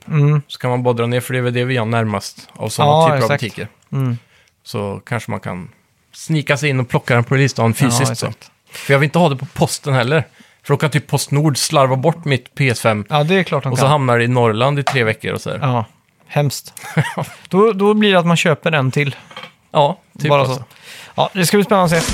Så kan man bara dra ner, för det är väl det vi har närmast av sådana Mm. Ja, typer av exakt. Mm. butiker. Så kanske man kan snika sig in och plocka den på releasedagen Ja, fysiskt. så. exakt. För jag vill inte ha det på posten heller. För då kan typ Postnord slarva bort mitt PS5 Ja, det är klart de och så kan. hamnar det i Norrland i tre veckor och sådär. Ja, Ja, hemskt. då, då blir det att man köper en till. typ Bara alltså. så. Ja, det ska bli spännande att se.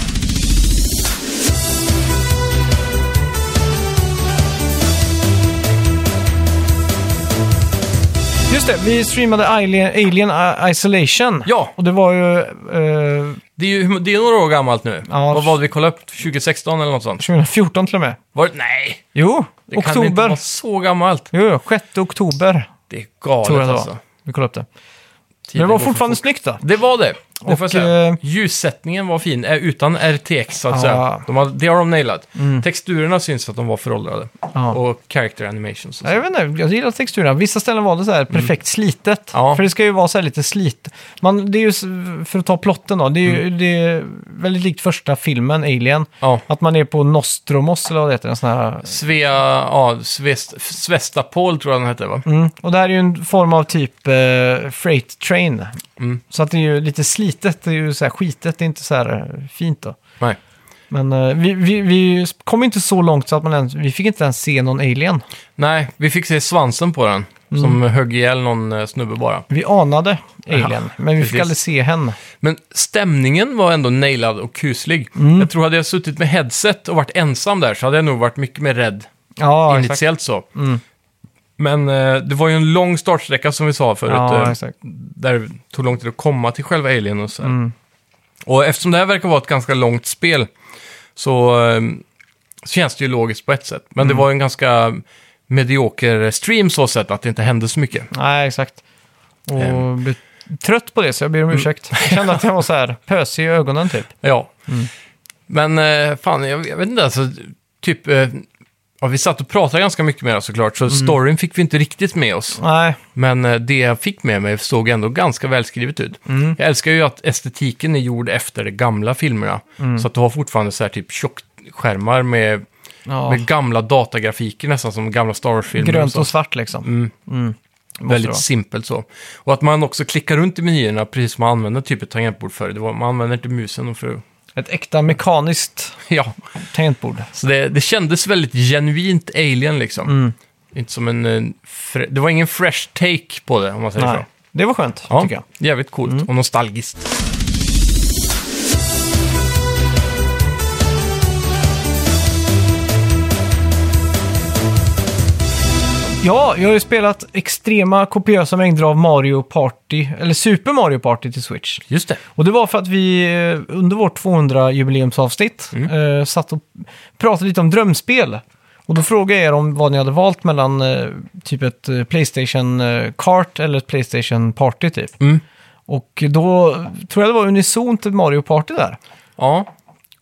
Just det, vi streamade Alien, Alien Isolation. Ja. Och det var ju eh, Det är ju det är några år gammalt nu. Ja. Vad var det vi kollade upp? 2016 eller något sånt? 2014 till och med. Var det? Nej! Jo, Det kan inte vara oktober. så gammalt. Jo, jo, 6 oktober Det är tror jag galet det alltså. var. Vi kollade upp det. Men Tiden det var går för fortfarande fort. snyggt då. Det var det. Det får jag Och, säga. eh, Ljussättningen var fin, eh, utan RTX så att Ja. Mm. säga. De har, det har de nailat. Texturerna syns att de var föråldrade. Ja. Och character animations. Och Ja, så. Jag vet inte, jag gillar texturerna. Vissa ställen var det så här perfekt slitet. Mm. Ja. För det ska ju vara så här lite slit. Man, det är ju, s- för att ta plotten då, det är Mm. ju det är väldigt likt första filmen, Alien. Ja. Att man är på Nostromos eller vad det heter, en sån här... Svea, ja, Svest, Svestapol tror jag den hette va? Mm. Och det här är ju en form av typ eh, freight train. Mm. Så att det är ju lite slitet, det är ju så här skitet, det är inte så här eh, fint då. Nej. Men eh, vi, vi, vi kom inte så långt så att man ens, vi fick inte ens se någon alien. Nej, vi fick se svansen på den. Mm. Som högg ihjäl någon eh, snubbe bara. Vi anade alien, men vi fick precis. aldrig se henne. Men stämningen var ändå nailad och kuslig. Mm. Jag tror hade jag suttit med headset och varit ensam där så hade jag nog varit mycket mer rädd. Ja, exakt. Mm. initiellt så. Men eh, det var ju en lång startsträcka som vi sa förut. Ja, eh, exakt. där det tog lång tid att komma till själva Alien och så. Mm. här. Och eftersom det här verkar vara ett ganska långt spel så eh, känns det ju logiskt på ett sätt. Men Mm. det var ju en ganska medioker stream så sett att det inte hände så mycket. Nej, exakt. Och Ehm. Mm. blev trött på det, så jag ber om ursäkt. Jag kände att jag var så här pösig i ögonen typ. Ja. Men eh, fan, jag, jag vet inte, alltså, typ... Eh, ja, vi satt och pratade ganska mycket med det såklart, Mm. så storyn fick vi inte riktigt med oss. Nej, Men eh, det jag fick med mig såg ändå ganska välskrivet ut. Mm. Jag älskar ju att estetiken är gjord efter de gamla filmerna. Mm. Så att du har fortfarande så här typ tjockskärmar med, ja. med gamla datagrafiker nästan som gamla Star Wars-filmer. grönt så. och svart liksom. Mm. Måste det Väldigt vara. simpelt så. Och att man också klickar runt i menyerna precis som man använder typ ett tangentbord förr. Det var, man använder inte musen för... Ett äkta mekaniskt Ja, tangentbord. så det, det kändes väldigt genuint alien liksom. Mm. Inte som en... eh, fre- Det var ingen fresh take på det om man säger Nej. så. Det var skönt, Ja, tycker jag. Mm. jävligt coolt och nostalgiskt. Ja, jag har ju spelat extrema kopiösa mängder av Mario Party, eller Super Mario Party till Switch. Just det. Och det var för att vi eh, under vårt 200-jubileumsavsnitt Mm. eh, satt och pratade lite om drömspel. Och då frågade jag er om vad ni hade valt mellan eh, typ ett eh, Playstation eh, Kart eller ett Playstation Party typ. Mm. Och då tror jag det var unisont Mario Party där. Ja,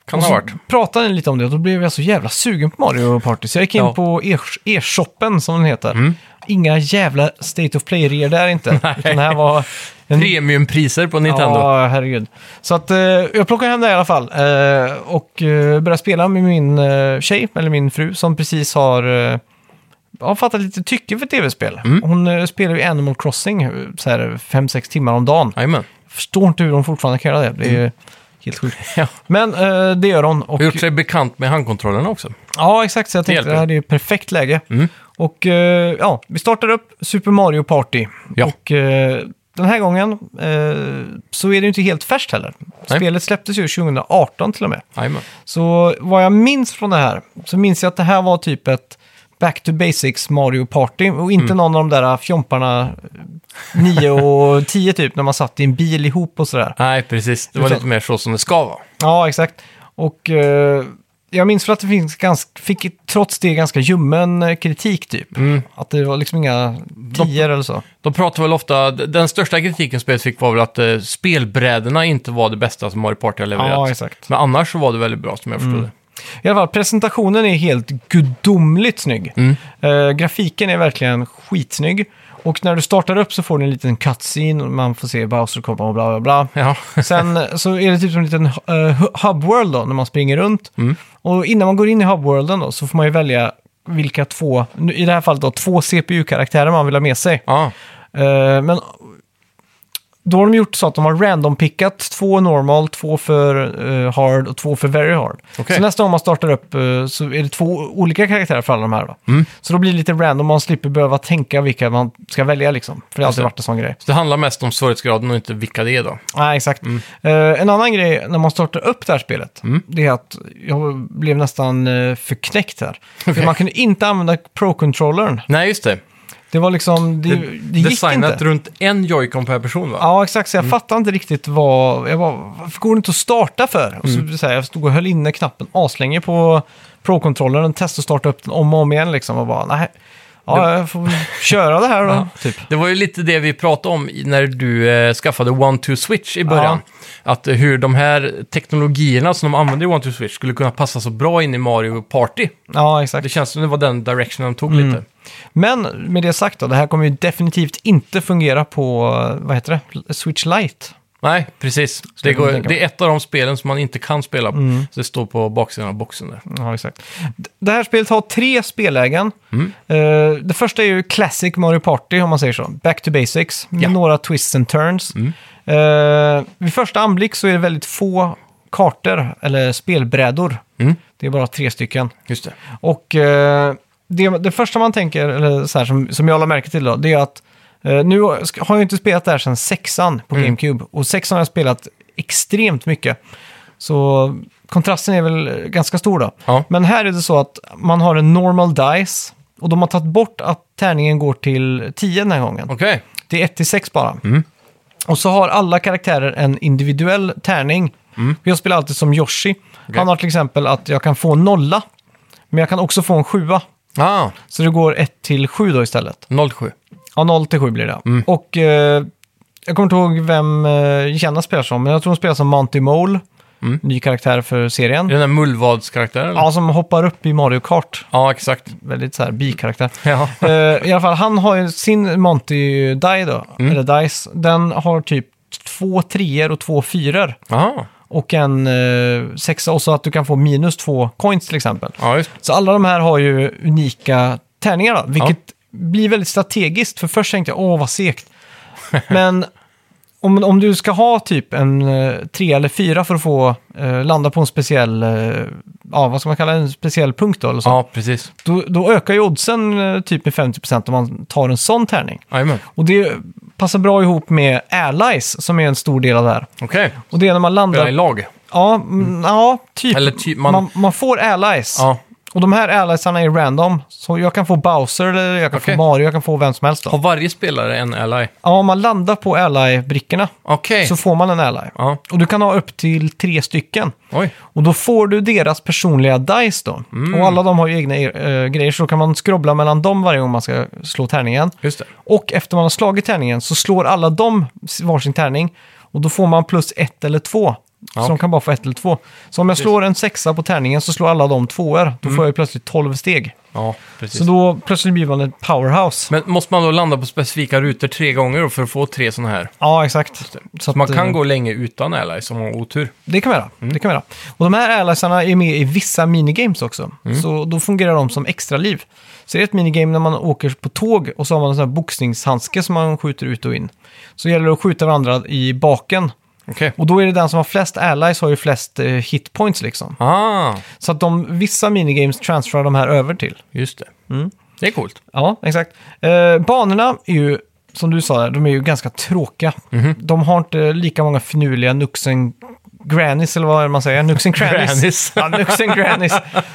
kan Och ha så varit. pratade ni lite om det och då blev jag så jävla sugen på Mario Party. Så jag gick in Ja. Mm. på e- e-shoppen som den heter. Inga jävla State of Play-reor där inte. Utan det här var... en- Premiumpriser på Nintendo. Ja, herregud. Så att eh, jag plockade hem det i alla fall. Eh, och eh, började spela med min eh, tjej, eller min fru, som precis har eh, har fattat lite tycke för tv-spel. Mm. Hon eh, spelar ju Animal Crossing eh, så här 5-6 timmar om dagen. Jajamän. Jag förstår inte hur hon fortfarande kan göra det. Det är helt sjukt. Ja. Men eh, det gör hon. Och, Mm. Har gjort sig bekant med handkontrollerna också. Ja, exakt. Så jag tänkte hjälper. Mm. det här är ju perfekt läge. Och eh, ja, vi startar upp Super Mario Party. Ja. Och eh, den här gången eh, så är det ju inte helt färskt heller. Nej. Spelet släpptes ju 2018 till och med. Jajamän. Så vad jag minns från det här, så minns jag att det här var typ ett Back to Basics Mario Party och inte någon av de där fjomparna 9 och 10 typ när man satt i en bil ihop och sådär. Nej, precis. Det var Utan- lite mer så som det ska vara. Ja, exakt. Och eh, jag minns för att det finns ganska, fick trots det ganska ljummen eh, kritik typ. Att det var liksom inga tior eller så. De pratar väl ofta, den största kritiken spelet fick var väl att eh, spelbrädorna inte var det bästa som Mario Party har levererat. Ja, exakt. Men annars så var det väldigt bra som jag förstod det. I alla fall, presentationen är helt gudomligt snygg. Eh, grafiken är verkligen skitsnygg. Och när du startar upp så får du en liten cutscene och man får se Bowser komma och bla bla bla. Ja. Sen eh, så är det typ som en liten eh, hu- hubworld då, när man springer runt. Och innan man går in i hubworlden då, så får man ju välja vilka två, nu- i det här fallet då, två CPU-karaktärer man vill ha med sig. ja. Eh, men då har de gjort så att de har randompickat två normal, två för eh, hard och två för very hard. Okej. Så nästa gång man startar upp eh, så är det två olika karaktärer för alla de här. Då. Mm. Så då blir det lite random, man slipper behöva tänka vilka man ska välja liksom. För det har alltid varit en sån grej. Så det Mm. handlar mest om svårighetsgraden och inte vilka det är då. Nej, exakt. Eh, en annan grej när man startar upp det här spelet, Mm. det är att jag blev nästan eh, förknäckt här. För Okej. man kunde inte använda Pro-controllern. Nej, just det. Det var liksom, det, det, gick Designat inte. runt en joycon per person va? Ja, exakt. Så jag fattade inte riktigt vad... Jag bara, varför går det inte att starta för? Och så, så här, jag stod och höll inne knappen aslänge på Pro-controllern, testade att starta upp den om och om igen liksom. Och bara, nej. ja, jag får väl köra det här då. Typ. Det var ju lite det vi pratade om i- när du eh, skaffade One-Two-Switch i början. Att eh, hur de här teknologierna som de använde i One-Two-Switch skulle kunna passa så bra in i Mario Party. Ja, Det exakt. känns som det var den direction de tog lite. Men med det sagt då, det här kommer ju definitivt inte fungera på, vad heter det, Switch Lite. Nej, precis. jag Det, går, kunna tänka det är ett av de spelen som man inte kan spela. Så det står på baksidan av boxen där. Ja, exakt. D- Det här spelet har tre spelägen. Mm. Eh, det första är ju Classic Mario Party, om man säger så. Back to Basics, med Ja. Mm. några twists and turns. Eh, vid första anblick så är det väldigt få kartor, eller spelbrädor. Mm. Det är bara tre stycken. Just det. Och eh, det, det första man tänker, eller så här, som, som jag la märke till då, det är att eh, nu ska- har jag inte spelat det här sedan sexan Mm. på GameCube. Och sexan har jag spelat extremt mycket. Så kontrasten är väl eh, ganska stor då. Ja. Men här är det så att man har en normal dice. Och de har tagit bort att tärningen går till 10 den här gången. Okej. Det är 1 till 6 bara. Mm. Och så har alla karaktärer en individuell tärning. Jag spelar alltid som Yoshi. Han har till exempel att jag kan få nolla, men jag kan också få en sjua. Ah, Så det går 1 till 7 då istället. 07. Ja, 0 till 7 blir det. Och eh, jag kommer inte ihåg vem eh, Jenna spelar som, men jag tror hon spelar som Monty Mole. Ny karaktär för serien. Är det den där mullvadskaraktären? eller? Ja, som hoppar upp i Mario Kart. ja, exakt. Väldigt så här bikaraktär. Ja. Eh, I alla fall, han har ju sin Monty Die då, eller Dice. Den har typ två treor och två fyror. Aha. Och en eh, sexa, och så att du kan få minus två coins till exempel. Ja, just Så alla de här har ju unika tärningar då, vilket blir väldigt strategiskt. För först tänkte jag, åh vad segt. Men om, om du ska ha typ en eh, tre eller fyra för att få eh, landa på en speciell, eh, ja vad ska man kalla det, en speciell punkt då eller så. Ja, precis. Då, då ökar ju oddsen eh, typ med 50% om man tar en sån tärning. Jajamän. Och det passar bra ihop med allies som är en stor del av det här. Okej. Och det är när man Spela landar... i lag. Ja, mm, ja, typ. Eller typ man... man- Man, får allies. Ja. Och de här alliesarna är random. Så jag kan få Bowser, eller jag kan Okej. få Mario, jag kan få vem som helst. Har Då. varje spelare en ally? Ja, om man landar på ally-brickorna Okej. så får man en ally. Ja. Och du kan ha upp till tre stycken. Oj. Och då får du deras personliga dice då. Mm. Och alla de har ju egna eh, grejer, så då kan man skrobbla mellan dem varje gång man ska slå tärningen. Just det. Och efter man har slagit tärningen så slår alla dem varsin tärning. Och då får man plus ett eller två. Så Ja. de kan bara få ett eller två. Så om jag slår en sexa på tärningen så slår alla de tvåor. Då får jag ju plötsligt 12 steg. Ja, Mm. precis. Så då plötsligt blir man ett powerhouse. Men måste man då landa på specifika rutor tre gånger då för att få tre sådana här? Ja, exakt. Så man att, kan eh, gå länge utan allies om man har otur. Det kan man göra. Det kan man göra. Och de här alliesarna är med i vissa minigames också. Så då fungerar de som extra liv. Så det är ett minigame när man åker på tåg och så har man en sån här boxningshandske som man skjuter ut och in. Så gäller det att skjuta varandra i baken. Okej. Och då är det den som har flest allies har ju flest eh, hitpoints liksom. Ah, Så att de, vissa minigames transferar de här över till. just det. Mm. Det är coolt. Ja, exakt. Eh, banorna är ju, som du sa, där, de är ju ganska tråkiga. Mhm. De har inte lika många finurliga nuxen grannies, eller vad är det man säger? Nuxen crannies. Grannies. ja, nuxen grannies.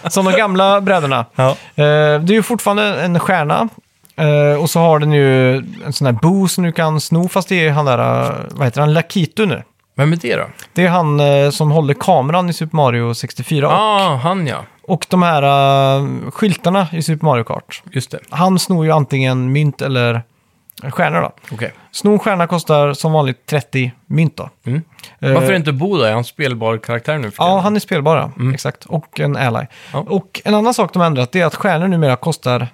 Som de gamla brädorna. Ja. Eh, det är ju fortfarande en stjärna. Eh, och så har den ju en sån här bo som du kan sno, fast det är han där, eh, vad heter han, Lakitu nu. Vem är det då? Det är han eh, som håller kameran i Super Mario 64. Ah, han ja. Och de här eh, skyltarna i Super Mario Kart. Just det. Han snor ju antingen mynt eller stjärnor då. Okej. Sno en stjärna kostar som vanligt 30 mynt då. Mm. Eh, Varför inte Bo då? Är han spelbar karaktär nu för Ja, tiden? han är spelbar ja. Exakt. Och en ally. Ja. Och en annan sak de har ändrat det är att stjärnor numera kostar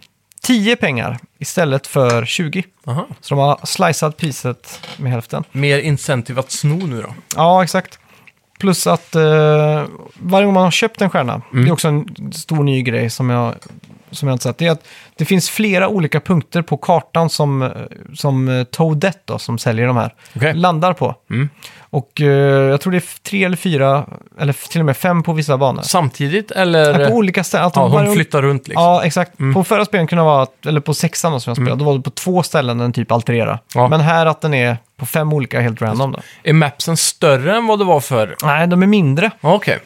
10 pengar istället för 20. Aha. Så de har slicat priset med hälften. Mer incentive att sno nu då? Ja, exakt. Plus att eh, varje gång man har köpt en stjärna, Mm. det är också en stor ny grej som jag, som jag inte sett, det är att det finns flera olika punkter på kartan som, eh, som eh, Toadette då, som säljer de här, Okej. landar på. Eh. Mm. Och eh, jag tror det är tre eller fyra, eller f- till och med fem på vissa banor. Samtidigt eller? Nej, på olika ställen. Att de ja, varje- hon flyttar runt liksom. Mm. Ja, exakt. På förra spelen kunde det vara, att- eller på sexan då, som jag spelade, då var det på två ställen den typ alterera. Ja. Men här att den är på fem olika helt random då. Är mapsen större än vad det var förr? Nej, de är mindre. Ja, Okej.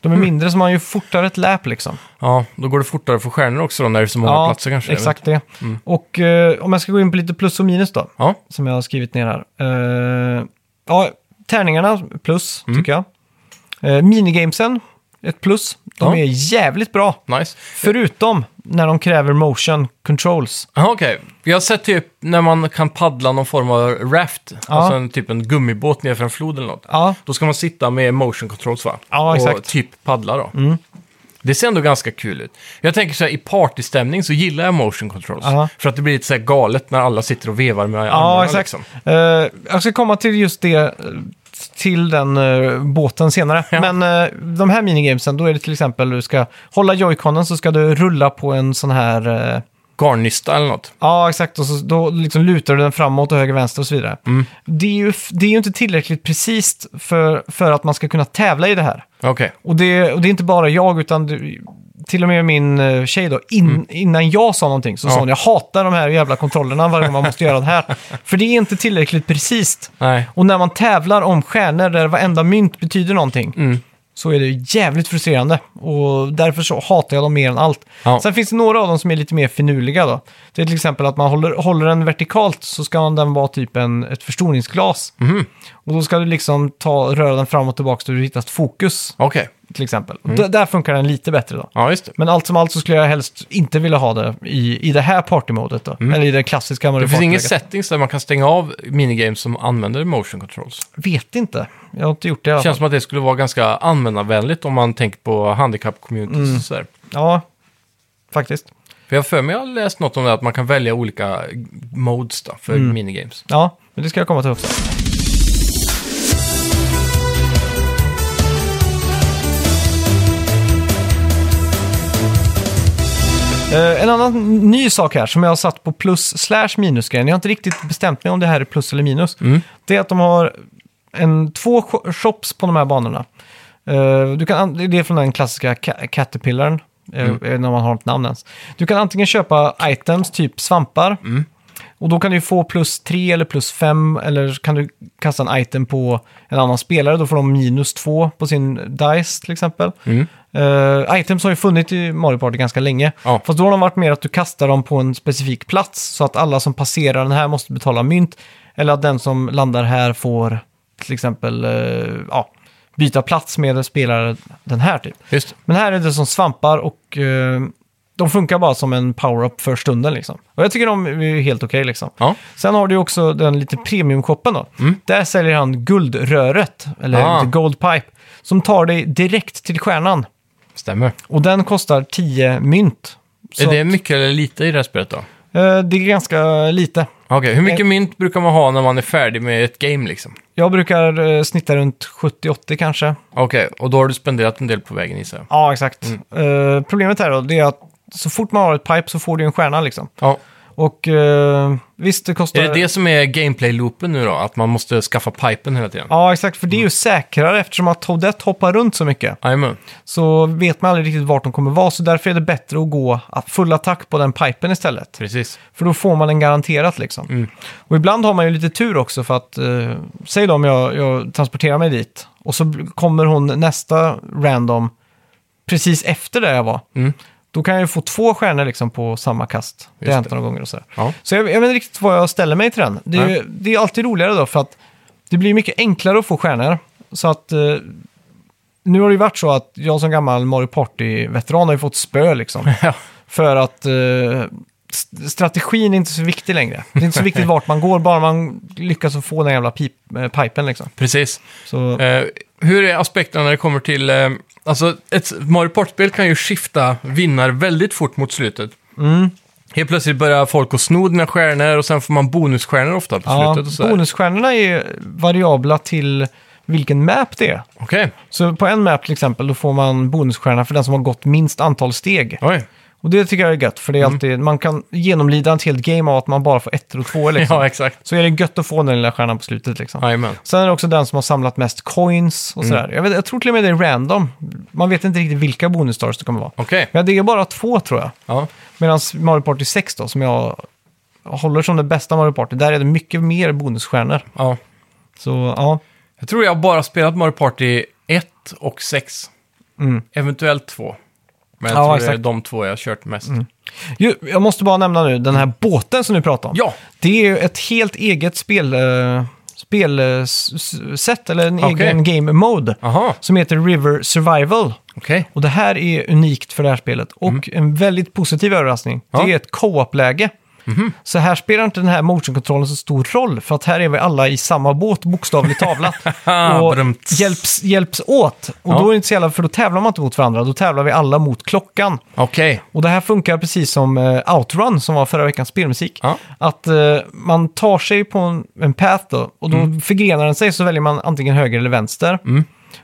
De är Mm. mindre så man har ju fortare ett läp liksom. Ja, då går det fortare för stjärnor också då när det är så många platser kanske. exakt det. Mm. Och eh, om jag ska gå in på lite plus och minus då, Ja, som jag har skrivit ner här. Eh, Mm. ja, tärningarna plus, tycker jag. Eh, minigamesen, ett plus. De Ja. är jävligt bra. Nice. Förutom när de kräver motion controls. Jaha, okej. Jag har sett typ när man kan paddla någon form av raft, alltså en, typ en gummibåt ner för en flod eller något. Ja, Då ska man sitta med motion controls va? Ja, och exakt. Mm. typ paddla då. Det ser ändå ganska kul ut. Jag tänker så här, i partystämning så gillar jag motion controls. Ja. För att det blir lite så här galet när alla sitter och vevar med ja armarna. exakt. Liksom. Eh, jag ska komma till just det, eh, till den eh, båten senare. Ja. Men eh, de här minigamesen, då är det till exempel du ska hålla joyconen så ska du rulla på en sån här... eh, Garnnista eller något. Ja, exakt. Och så, då liksom lutar du den framåt och höger, vänster och så vidare. Mm. Det, är ju, f- det är ju inte tillräckligt precis för, för att man ska kunna tävla i det här. Okej. Och det, och det är inte bara jag, utan det, till och med min eh, tjej då, in, innan jag sa någonting så Mm. Ja. sa hon jag hatar de här jävla kontrollerna varje gång man måste göra det här. För det är inte tillräckligt precis. Nej. Och när man tävlar om stjärnor där varenda mynt betyder någonting Mm. så är det jävligt frustrerande. Och därför så hatar jag dem mer än allt. Ja. Sen finns det några av dem som är lite mer finurliga då. Det är till exempel att man håller, håller den vertikalt så ska man- den vara typ en, ett förstoringsglas. Mhm. Och då ska du liksom ta, röra den fram och tillbaka så du hittar ett fokus Okej. till exempel. Mm. Och d- där funkar den lite bättre då. Ja, just det. Men allt som allt så skulle jag helst inte vilja ha det i, i det här partymodet då. Eller i det klassiska Mm. Det finns inga settings där man kan stänga av minigames som använder motion controls. Vet inte. Jag har inte gjort det i alla Det fall. känns som att det skulle vara ganska användarvänligt om man tänker på handikapp-communities Mm. och sådär. Ja, faktiskt. För jag har för mig jag har läst något om det, att man kan välja olika modes då, för Mm. minigames. Ja, men det ska jag komma till också. Eh, En annan ny sak här som jag har satt på plus slash minus-grejen, jag har inte riktigt bestämt mig om det här är plus eller minus, det är att de har en, två sho- shops på de här banorna. Eh, Du kan, an- det är från den klassiska ca- Caterpillaren, eh, när man har ett namn ens. Du kan antingen köpa items, typ svampar, och då kan du ju få plus 3 eller plus 5 eller så kan du kasta en item på en annan spelare. Då får de minus 2 på sin dice till exempel. Mm. items har ju funnits i Mario Party ganska länge. Ja. Fast då har de varit mer att du kastar dem på en specifik plats så att alla som passerar den här måste betala mynt. Eller att den som landar här får till exempel eh, ja, byta plats med en spelare den här typ. Just det. Men här är det som svampar och eh, de funkar bara som en power-up för stunden. Liksom. Och jag tycker de är helt okej. liksom. Ja. Mm. Sen har du ju också den lite premiumshoppen då. Där säljer han guldröret, eller Ah. ah. gold pipe, som tar dig direkt till stjärnan. Stämmer. Och den kostar 10 mynt. Så Är det att, mycket eller lite i det här spelet då? eh, det är ganska lite. Okej, hur mycket Eh. mynt brukar man ha när man är färdig med ett game liksom? Jag brukar eh, snitta runt 70-80 kanske. Okej, och då har du spenderat en del på vägen gissar jag. Ja, exakt. Eh, problemet här då, det är att så fort man har ett pipe så får du ju en stjärna liksom. Ja. Och eh, visst, det kostar... Är det det som är gameplay-loopen nu då? Att man måste skaffa pipen hela tiden? Ja, exakt. För det är ju säkrare eftersom att Toadette hoppar runt så mycket. Jajamän. Så vet man aldrig riktigt vart de kommer vara. Så därför är det bättre att gå full attack på den pipen istället. Precis. För då får man den garanterat liksom. Och ibland har man ju lite tur också för att, eh, säg då om jag, jag transporterar mig dit och så bl- kommer hon nästa random precis efter där jag var. Då kan jag ju få två stjärnor liksom på samma kast. Det Just har hänt några gånger och sådär. Ja. Så jag, jag vet inte riktigt vad jag ställer mig till den. Det är, ju, Nej. det är alltid roligare då för att det blir mycket enklare att få stjärnor. Så att eh, nu har det ju varit så att jag som gammal Mario Party-veteran har ju fått spö liksom. Ja. för att eh, st- strategin är inte så viktig längre. Det är inte så viktigt vart man går, bara man lyckas att få den jävla pip, eh, pipen liksom. Precis. Så, Eh, hur är aspekterna när det kommer till... Eh, alltså, ett Mario Party-spel kan ju skifta vinnare väldigt fort mot slutet. Mm. Helt plötsligt börjar folk att sno dina stjärnor och sen får man bonusstjärnor ofta på ja, slutet. Och sådär. bonusstjärnorna är ju variabla till vilken map det är. Okej, Så på en map till exempel, då får man bonusstjärna för den som har gått minst antal steg. oj. Och det tycker jag är gött, för Mm. det är alltid, man kan genomlida ett helt game av att man bara får ettor och tvåor liksom. Ja, exakt. Så är det gött att få den lilla stjärnan på slutet liksom. Jajamän. Sen är det också den som har samlat mest coins Mm. och sådär. Jag, vet, jag tror till och med det är random. Man vet inte riktigt vilka bonusstars det kommer vara. Okej. Men det är bara två tror jag. Ja. Medan Mario Party 6 då, som jag håller som det bästa Mario Party, där är det mycket mer bonusstjärnor. ja. Så ja, Jag tror jag bara spelat Mario Party 1 och 6. Eventuellt 2. Men jag Mm. Ja, tror det är exakt. Mm. de två jag har kört mest. Ju, Jag måste bara nämna nu den här båten som du pratade om. Ja. Det är ju ett helt eget spel, eh, spelsätt, eller en Okej. egen game mode, Aha. som heter River Survival. Okej. Och det här är unikt för det här spelet. Och en väldigt positiv överraskning, Mm. Ja. Mhm. det är ett co-op-läge. Så här spelar inte den här motionkontrollen så stor roll, för att här är vi alla i samma båt, bokstavligt talat. och Brumt. hjälps, hjälps åt. Och Ja. då är det inte så jävla, för då tävlar man inte mot varandra, då tävlar vi alla mot klockan. Okej. Och det här funkar precis som eh, Outrun som var förra veckans spelmusik. Ja. Att eh, man tar sig på en, en path då, och då Mm. förgrenar den sig så väljer man antingen höger eller vänster.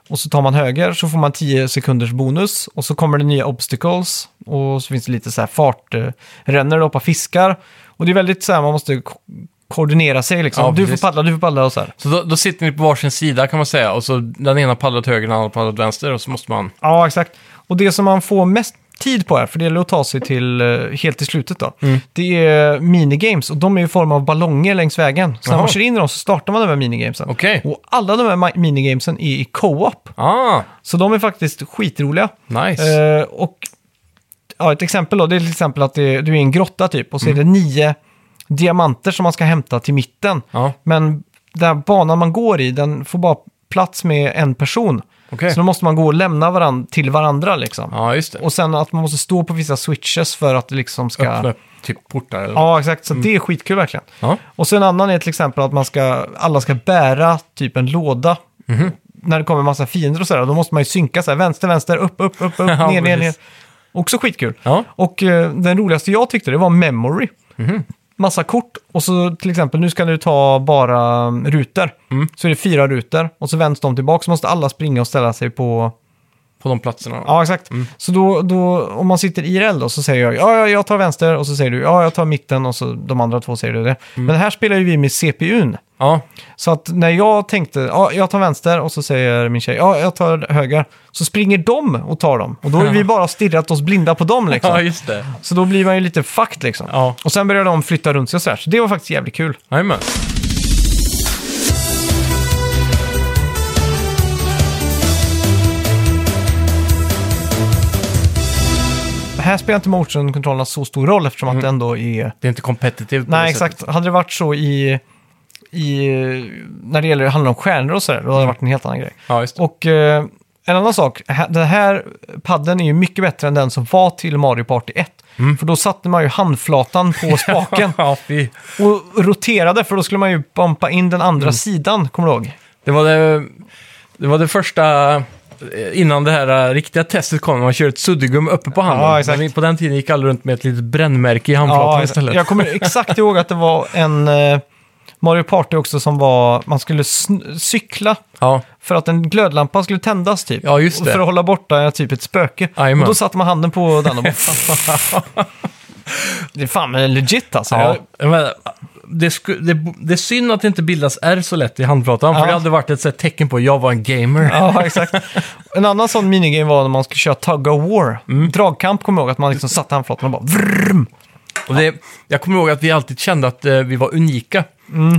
Och så tar man höger så får man 10 sekunders bonus och så kommer det nya obstacles och så finns det lite så här fartrännor, hoppa fiskar. Och det är väldigt så här, man måste ko- koordinera sig liksom. Ja, du får precis. paddla, du får paddla och så här. Så då, då sitter ni på varsin sida kan man säga och så den ena paddlar åt höger, den andra paddlar åt vänster och så måste man... Ja, exakt. Och det som man får mest tid på här, för det gäller att ta sig till eh, helt till slutet då, Mm. det är minigames och de är i form av ballonger längs vägen. Så när Jaha. man kör in i dem så startar man de här minigamesen. Okej. Och alla de här ma- minigamesen är i co-op, Ah, så de är faktiskt skitroliga. nice. Eh, och ja, ett exempel då, det är till exempel att det, du är i en grotta typ och så Mm. är det nio diamanter som man ska hämta till mitten. ja, Men den här banan man går i, den får bara plats med en person. okej. Så då måste man gå och lämna varandra till varandra liksom. Ja, just det. Och sen att man måste stå på vissa switches för att det liksom ska... Öppna upp typ portar eller... Ja, exakt. Så det är skitkul verkligen. Ja. Och sen en annan är till exempel att man ska, alla ska bära typ en låda. Mhm. När det kommer en massa fiender och sådär, då måste man ju synka så här, vänster, vänster, upp, upp, upp, upp, Ja, ner, ner, ner. precis. Också skitkul. Ja. Mhm. Och eh, den roligaste jag tyckte det var memory. Massa kort och så till exempel nu ska du ta bara mm, rutor. Så är det fyra rutor och så vänds de tillbaka så måste alla springa och ställa sig på På de platserna. Ja, exakt. Mm. Så då, då, om man sitter IRL då, så säger jag ja, ja, jag tar vänster och så säger du ja, jag tar mitten och så de andra två säger du det. Mm. Men här spelar ju vi med CPUn. ja. Så att när jag tänkte ja, jag tar vänster och så säger min tjej ja, jag tar höger, så springer de och tar dem. Och då har vi bara stirrat oss blinda på dem ja, liksom. just det. Så då blir man ju lite fucked liksom. Ja. Och sen börjar de flytta runt sig och sådär. Så det var faktiskt jävligt kul. Jajamän. Här spelar inte motion-kontrollerna så stor roll eftersom Mm. att det ändå är Det är inte competitive på Nej, det sättet. exakt. Hade det varit så i, i när det gäller, handlar om stjärnor och sådär, då hade det varit en helt annan grej. Ja, just det. Och eh, en annan sak, hä- den här padden är ju mycket bättre än den som var till Mario Party 1. Mm. För då satte man ju handflatan på spaken ja, fy. och roterade, för då skulle man ju bumpa in den Mm. andra sidan, kommer du ihåg? Det var det, det var det första, eh, innan det här eh, riktiga testet kom, när man körde ett suddgum uppe på handen. Ja, exakt. Men vi- på den tiden gick alla runt med ett litet brännmärke i handflatan istället. jag kommer exakt ihåg att det var en eh, Mario Party också som var, man skulle sn- cykla Ja, För att en glödlampa skulle tändas typ. Ja, just det. För att hålla borta typ ett spöke. Jajamän. Och då satte man handen på den och bara... det är fan men legit alltså. ja. Ja. Men, det, sku, det, det är synd att det inte bildas R så lätt i handflatan, Ja. för det hade varit ett så här, tecken på att jag var en gamer. exakt. En annan sån minigame var när man skulle köra Tug of War. Mm. Dragkamp kommer jag ihåg att man liksom satte handflatan och bara... Vrrm. Och det, jag kommer ihåg att vi alltid kände att eh, vi var unika.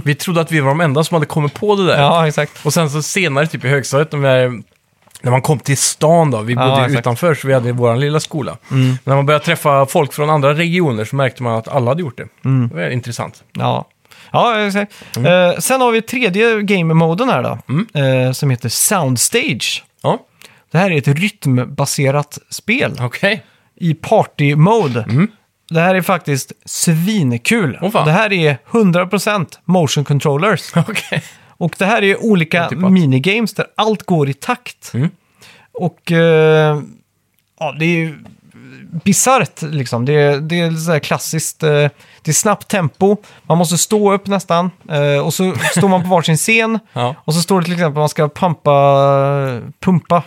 Vi trodde att vi var de enda som hade kommit på det där. Mm. Ja, exakt. Och sen så senare, typ i högstadiet, när, när man kom till stan då, vi Ja, bodde ju exakt. Mm. utanför så vi hade vår lilla skola. Men när man började träffa folk från andra regioner så märkte man att alla hade gjort det. Mm. Det var intressant. Ja. Ja, exakt. Mm. Eh, sen har vi tredje game-moden här då. Eh, som heter Soundstage. Ja, Det här är ett rytmbaserat spel. okej. i party-mode. Det här är faktiskt svinkul. Mm. Åh, fan. det här är 100% motion controllers. Okej. Och det här är olika Otippat. minigames där allt går i takt. typ Mm. Och eh, ja, det är ju bisarrt liksom. Det är, det är så här klassiskt. Eh, det är snabbt tempo. Man måste stå upp nästan. Eh, och så står man på varsin scen. Ja. Och så står det till exempel att man ska pumpa, pumpa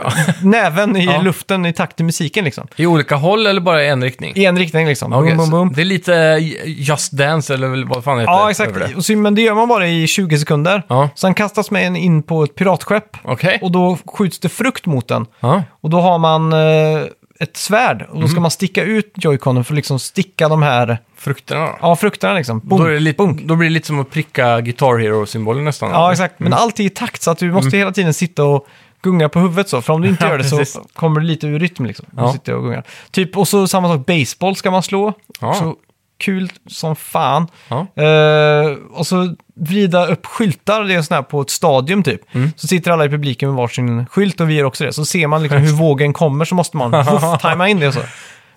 eh, näven i Ja. luften i takt till musiken liksom. I olika håll eller bara i en riktning? I en riktning liksom. Okej, boom, boom, så boom. Det är lite eh, Just Dance eller väl vad fan heter Ja, det? exakt. över det? Och så, men det gör man bara i 20 sekunder. Ja. Sen kastas man in på ett piratskepp Okej. och då skjuts det frukt mot den. Ja. Och då har man eh, ett svärd och då Mhm. ska man sticka ut joyconen för att liksom sticka de här Frukterna då? ja, frukterna. Liksom. Boom. Då, är det lite, då blir det lite som att pricka Guitar Hero-symbolen nästan. Ja, exakt. Men allt är i takt så att du måste hela tiden sitta och gunga på huvudet så. För om du inte Mm. Ja, gör det precis. så kommer du lite ur rytm liksom. Du Ja. sitter och gungar. Typ, och så samma sak, baseball ska man slå. Ja. Så kul som fan. Ja. Eh, och så vrida upp skyltar, det är en sån här på ett stadium typ. Mm. Så sitter alla i publiken med varsin skylt och vi gör också det. Så ser man liksom hur vågen kommer så måste man woof, tajma in det och så.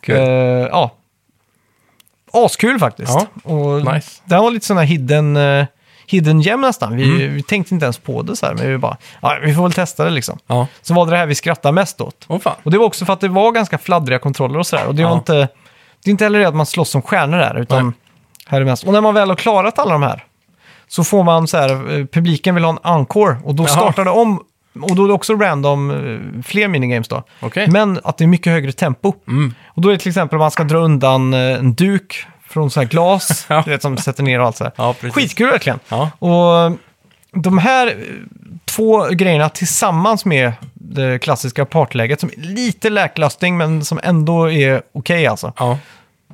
Kul. Eh, ja. Askul faktiskt. Ja, Och nice. Det här var lite sån här hidden, eh, hidden gem nästan. Vi, Mm. vi tänkte inte ens på det så här, men vi bara, ja, vi får väl testa det liksom. Ja. Så var det det här vi skrattade mest åt. Åh fan. Och det var också för att det var ganska fladdriga kontroller och sådär. Och det, var Ja. inte, det är inte heller det att man slåss som stjärnor där, utan Nej. här är mest. Och när man väl har klarat alla de här så får man så här, eh, publiken vill ha en encore och då Jaha. startar det om. Och då är det också random eh, fler minigames då. Okej. Men att det är mycket högre tempo. Mm. Och då är det till exempel om man ska dra undan eh, en duk från så här glas, Ja. du vet, som sätter ner och allt så här. Ja, precis. Skitkul verkligen. Ja. Och eh, de här eh, två grejerna tillsammans med det klassiska partläget som är lite läklasting men som ändå är okej alltså. Ja.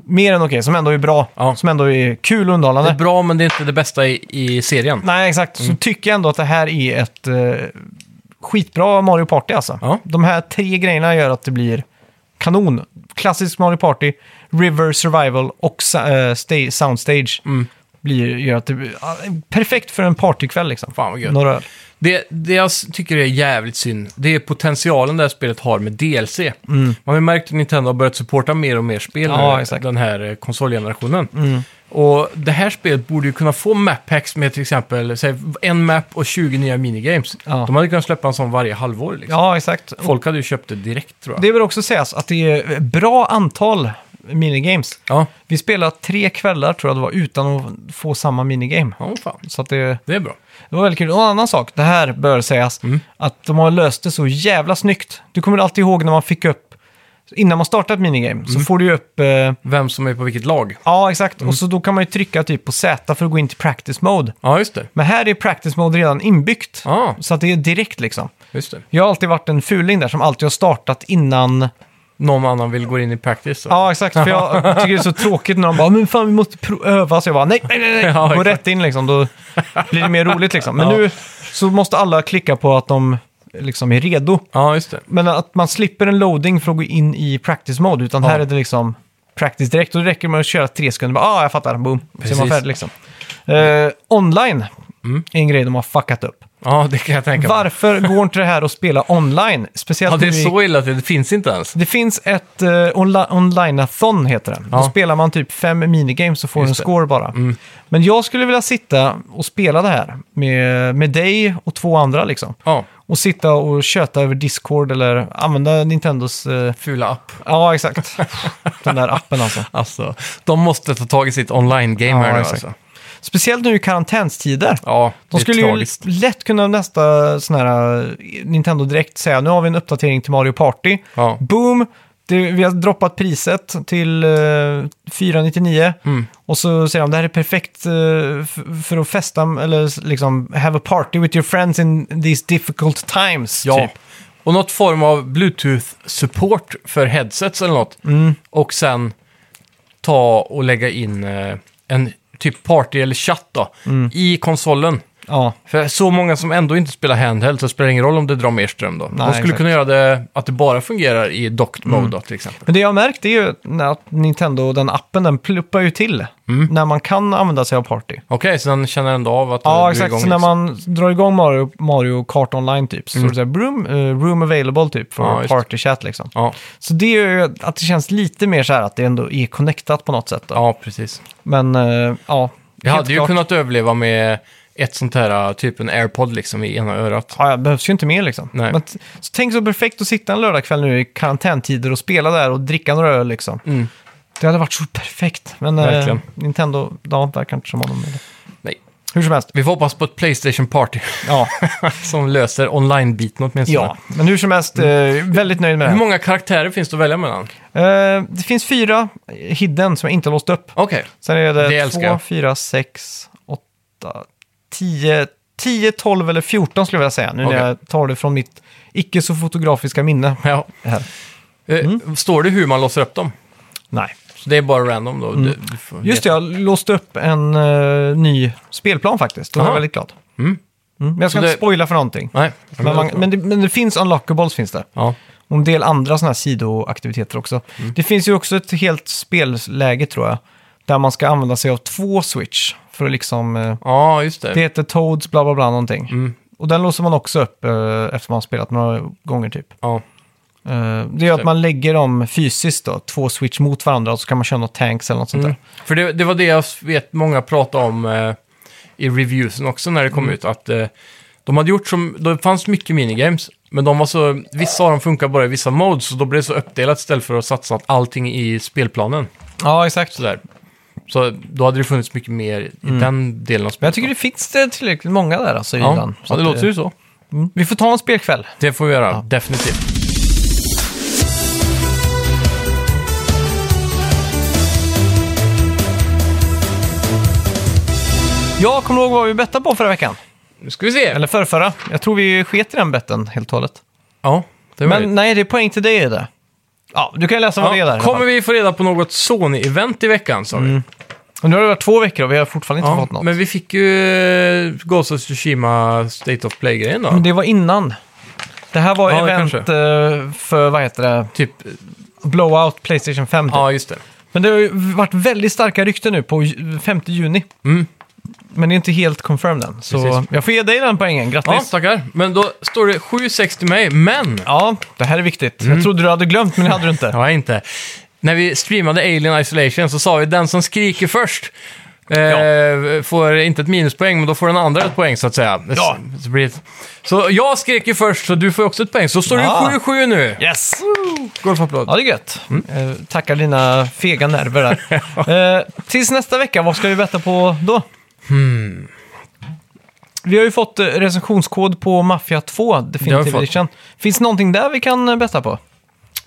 Mer än okej, som ändå är bra. Ja. Som ändå är kul och Det underhållande. är bra, men det är inte det bästa i, i serien. Nej, exakt. Mm. Så tycker jag ändå att det här är ett eh, skitbra Mario Party alltså. Ja. De här tre grejerna gör att det blir kanon. Klassisk Mario Party, River Survival och sa- eh, sta- Soundstage. Mm. Blir, gör att det blir, ja, perfekt för en partykväll liksom. Fan, vad gött. Några öl. Det, det jag s- tycker är jävligt synd, det är potentialen det här spelet har med DLC. Man har ju märkt att Nintendo har börjat supporta mer och mer spel Mm. Ja, nu, exakt. Mm. den här eh, konsolgenerationen. Och det här spelet borde ju kunna få map packs med till exempel säg, en map och 20 nya minigames. Ja. De hade kunnat släppa en sån varje halvår. Liksom. Ja, exakt. Folk hade ju köpt det direkt tror jag. Det bör också sägas att det är bra antal minigames. Ja, Vi spelade tre kvällar tror jag det var utan att få samma minigame. ja fan. Så att det, det är bra. det var väldigt kul. Och en annan sak, det här bör sägas, att de har löst det så jävla snyggt. Du kommer alltid ihåg när man fick upp, innan man startar ett minigame, så får du ju upp, eh, Vem som är på vilket lag. ja exakt, och så då kan man ju trycka typ på Z för att gå in till practice mode. Ja, just det. Men här är practice mode redan inbyggt, Ja, så att det är direkt liksom. just det. Jag har alltid varit en fuling där som alltid har startat innan Någon annan vill gå in i practice. Så. Ja, exakt. För jag tycker det är så tråkigt när de bara, men fan vi måste pro- öva. Så jag bara, nej, nej, nej, nej. Ja, Gå exakt. rätt in liksom, då blir det mer roligt liksom. Men Ja. nu så måste alla klicka på att de liksom är redo. ja just det. Men att man slipper en loading för att gå in i practice mode, utan här är Ja. det liksom practice direkt. Och det räcker med att köra tre sekunder, bara, ah, jag fattar, boom, så är man Precis. färdig liksom. Eh, online är en grej de har fuckat upp. Ja, det kan jag tänka mig. Varför går inte det här att spela online? Speciellt Ja, det nu är i- så illa att det finns inte ens. det finns ett eh, onla- online-athon heter det. Då Ja. spelar man typ fem minigames och får Just en det. score Mm. bara. Men jag skulle vilja sitta och spela det här med, med dig och två andra liksom. Ja, Och sitta och köta över Discord eller använda Nintendos... Eh, fula app. ja, exakt. Den där appen alltså. Alltså, de måste ta tag i sitt online-game Ja, här nu exakt. alltså. Speciellt nu i karantänstider. Ja, De det skulle är ju tragiskt. lätt kunna nästa sån här eh, Nintendo Direkt säga nu har vi en uppdatering till Mario Party. Ja. Boom! Det, vi har droppat priset till eh, 499 Mm. och så säger de det här är perfekt eh, f- för att festa eller s- liksom have a party with your friends in these difficult times. Ja. Typ. Och något form av Bluetooth-support för headsets eller något. Och sen ta och lägga in eh, en typ party eller chatt då, i konsolen. ja. För så många som ändå inte spelar handheld så spelar det ingen roll om det drar mer ström då. De skulle exakt. kunna göra det att det bara fungerar i docked mode då till exempel. Men det jag har märkt är ju att Nintendo, den appen, den pluppar ju till Mm. när man kan använda sig av party. Okej, så den känner ändå av att Ja, du är exakt. igång Så när liksom. Mm. man drar igång Mario, Mario Kart Online typ, så står det så här, room, eh, room available typ, för Ja, just det. party chat liksom. Ja, Så det är ju att det känns lite mer så här att det ändå är connectat på något sätt. Då. ja, precis. Men eh, ja, Jag helt hade ju klart. kunnat överleva med ett sånt här, typ en airpod liksom i ena örat. Ja, det behövs ju inte mer liksom. Nej. Men t- så tänk så perfekt att sitta en lördagkväll nu i karantäntider och spela där och dricka några öl liksom. Mm. Det hade varit så perfekt. Men eh, Verkligen. Nintendo, ja, verkar inte som honom. Nej. Hur som helst. Vi får hoppas på ett Playstation Party Ja, som löser online-biten åtminstone. ja. men hur som helst, eh, väldigt nöjd med det Mm. Hur här. många karaktärer finns det att välja mellan? Eh, det finns fyra hidden som jag inte har låst upp. Okej. Sen är Det det älskar 2, jag. 4, 6, 8, 10, 10, 12 eller 14 skulle jag vilja säga. Nu Okej. när jag tar det från mitt icke så fotografiska minne. Ja. Här. Eh, Mm. Står det hur man låser upp dem? Nej. Så det är bara random då? Du, du får Mm. Just det, jag låste upp en eh, ny spelplan faktiskt. Då var jag Aha. väldigt glad. Mm. Men jag ska Så inte det- spoila för någonting. Nej. Men, man, men, det, men det finns unlockables finns det. Ja. Och en del andra sådana här sidoaktiviteter också. Det finns ju också ett helt spelläge tror jag. Där man ska använda sig av två switch för att liksom... eh, Ja, just det. Det heter Toads bla bla bla någonting. Mm. Och den låser man också upp eh, efter man har spelat några gånger typ. Ja. Eh, det gör att man lägger dem fysiskt då, två switch mot varandra och så kan man köra något tanks eller något sånt Mm. För det, det var det jag vet många pratade om eh, i reviewsen också när det Mm. kom ut. Att eh, de hade gjort som, det fanns mycket minigames, men de var så, vissa av dem funkar bara i vissa modes, så då blev det så uppdelat istället för att satsa allting i spelplanen. där. Ja, exakt. Sådär. Så då hade det funnits mycket mer i den delen av Men spelet. jag tycker det finns eh, tillräckligt många där alltså Mm. i ja, den. Så ja, det att, låter ju så. Mm. Vi får ta en spelkväll. Det får vi göra, definitivt. Jag kommer ihåg vad vi bettade på förra veckan. Nu ska vi se. Eller förrförra. Jag tror vi sket i den betten helt och hållet. ja, det är Men möjligt. nej, det är poäng till dig är det. Ja, du kan ju läsa vad det är där. i ja, alla kommer fall. vi få reda på något Sony-event i veckan, sa Mm. vi. Och nu har det varit två veckor och vi har fortfarande inte Ja, fått något. Men... men vi fick ju eh, Ghost of Tsushima State of Play-grejen då. det var innan. Det här var Ja, det event kanske. eh, för, vad heter det, Typ, Blowout Playstation 5. typ. ja just det. Men det har ju varit väldigt starka rykten nu på ju- 5 juni. Mm. Men det är inte helt confirmed än. Så Precis. jag får ge dig den poängen, Ja, grattis! Ja, tackar. Men då står det 7,60 till mig, men... det här är viktigt. Mm. Jag trodde du hade glömt, men det hade du Det inte. har jag inte. När vi streamade Alien Isolation så sa vi den som skriker först eh, får inte ett minuspoäng, men då får den andra ett poäng så att säga. Ja. Så, blir det... så jag skrek ju först, så du får också ett poäng. Så står det Ja. 7-7 nu. Yes! Golfapplåd. Ja, det är gött. Mm. Eh, tackar dina fega nerver där. eh, tills nästa vecka, vad ska vi betta på då? Hmm. Vi har ju fått eh, recensionskod på Mafia 2 har vi Definitive fått. Edition. Finns det någonting där vi kan eh, betta på?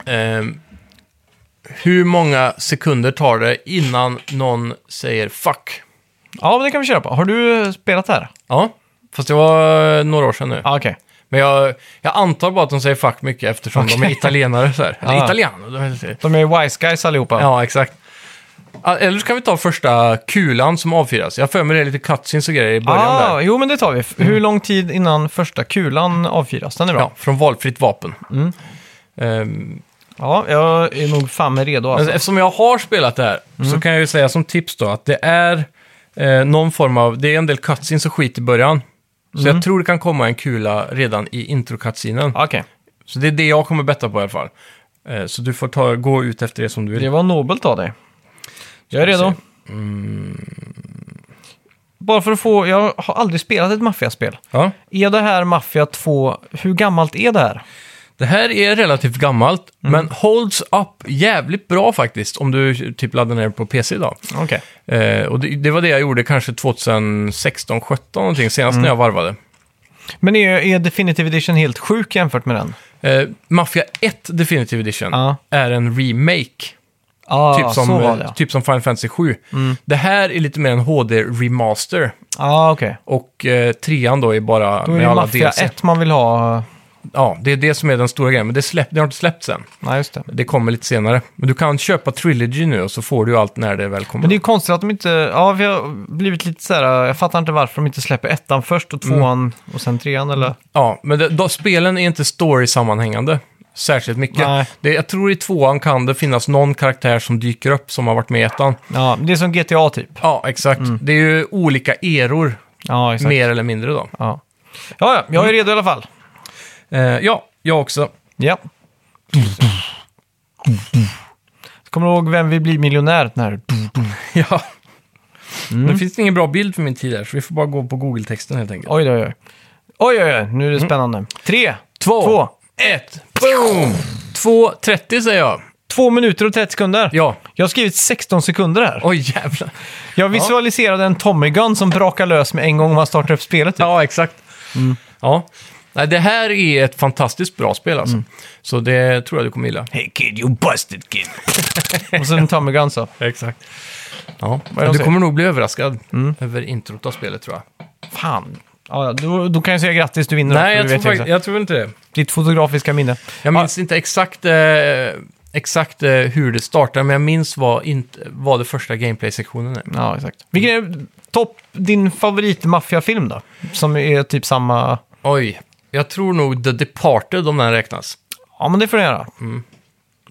Ehm, hur många sekunder tar det innan någon säger fuck? Ja, men det kan vi köra på. Har du eh, spelat det här? Ja, fast det var eh, några år sedan nu. Ja, okej. Men jag, jag antar bara att de säger fuck mycket eftersom de är Okej. italienare så här. Eller Ja. italiano, de heter det. De är ju wise guys allihopa. Ja, exakt. Ah, Eller så kan vi ta första kulan som avfyras. Jag har för mig det är lite cutscenes och grejer i början ah, där. Mm. Jo, men det tar vi. F- Hur lång tid innan första kulan avfyras? Den är bra. Mm. Alltså. Ja, från valfritt vapen. Ehm, Ja, jag är nog fan med redo men alltså. eftersom jag har spelat det här Mm. så kan jag ju säga som tips då att det är eh, någon form av, det är en del cutscenes och skit i början. Så Mm. jag tror det kan komma en kula redan i intro cutscenen. Ah, Okej, Så det är det jag kommer betta på i alla fall. Eh, så du får ta, gå ut efter det som du vill. det var nobelt av dig. Jag är Ska vi Mm. redo. Bara för att få... Jag har aldrig spelat ett maffiaspel. Ja. Är det här Mafia 2... Hur gammalt är det här? Det här är relativt gammalt, Mm. men holds up jävligt bra faktiskt om du typ laddar ner det på PC idag. Okej. Eh, och det, det var det jag gjorde kanske 2016, 17 någonting, senast Mm. när jag varvade. Men är, är Definitive Edition helt sjuk jämfört med den? Eh, Mafia 1 Definitive Edition Ja. är en remake, Ja, typ, som, så var det. eh, Ja, Mm. typ som Final Fantasy 7. Det här är lite mer en HD-remaster ah, okej. och eh, trean då är bara Då är med det alla Mafia DLC. 1 man vill ha. Ja, det är det som är den stora grejen, men det, släpp, det har inte släppts än. Nej, just det. Det kommer lite senare. Men du kan köpa Trilogy nu och så får du ju allt när det väl kommer. Men det är ju konstigt att de inte... Ja, vi har blivit lite så här... Jag fattar inte varför de inte släpper ettan först Mm. och tvåan och sen trean eller... Ja, men det, då, spelen är inte story-sammanhängande särskilt mycket. Nej. Det, jag tror i tvåan kan det finnas någon karaktär som dyker upp som har varit med i ettan. Ja, det är som GTA typ. Ja, exakt. Det är ju olika eror, Ja, exakt. mer eller mindre då. Ja. ja, ja, jag är redo i alla fall. Eh, ja, jag också. Ja. Kommer du ihåg vem vill bli miljonär? Den här. ja. Mm. Nu finns det ingen bra bild för min tid här, så vi får bara gå på Google-texten helt enkelt. Oj, oj, oj. Oj, oj, oj. Nu är det spännande. Tre, Två, två, ett, boom! 2.30 säger jag. två minuter och 30 sekunder. Ja. Jag har skrivit 16 sekunder här. Oj, jävlar. Jag visualiserade en Tommy Gun som brakar lös med en gång man startar upp spelet. Typ. Ja, exakt. Mm. Ja. Nej, det här är ett fantastiskt bra spel alltså. Så det tror jag du kommer gilla. Hey kid, you busted kid. och sen Tommy Gun så. Exakt. Ja, är det de du säger? kommer nog bli överraskad över introt av spelet tror jag. Fan. Ja, ja, då, då kan jag säga grattis, du vinner. Nej, för jag du tror, vet ju faktiskt, exakt. jag tror inte det. Ditt fotografiska minne. Jag minns inte exakt, eh, exakt eh, hur det startar, men jag minns vad, inte, vad det första gameplay-sektionen är. Ja, exakt. Vilken är topp, din favorit maffiafilm då? Som är typ samma... Oj, jag tror nog The Departed om den räknas. Ja, men det får den göra. Den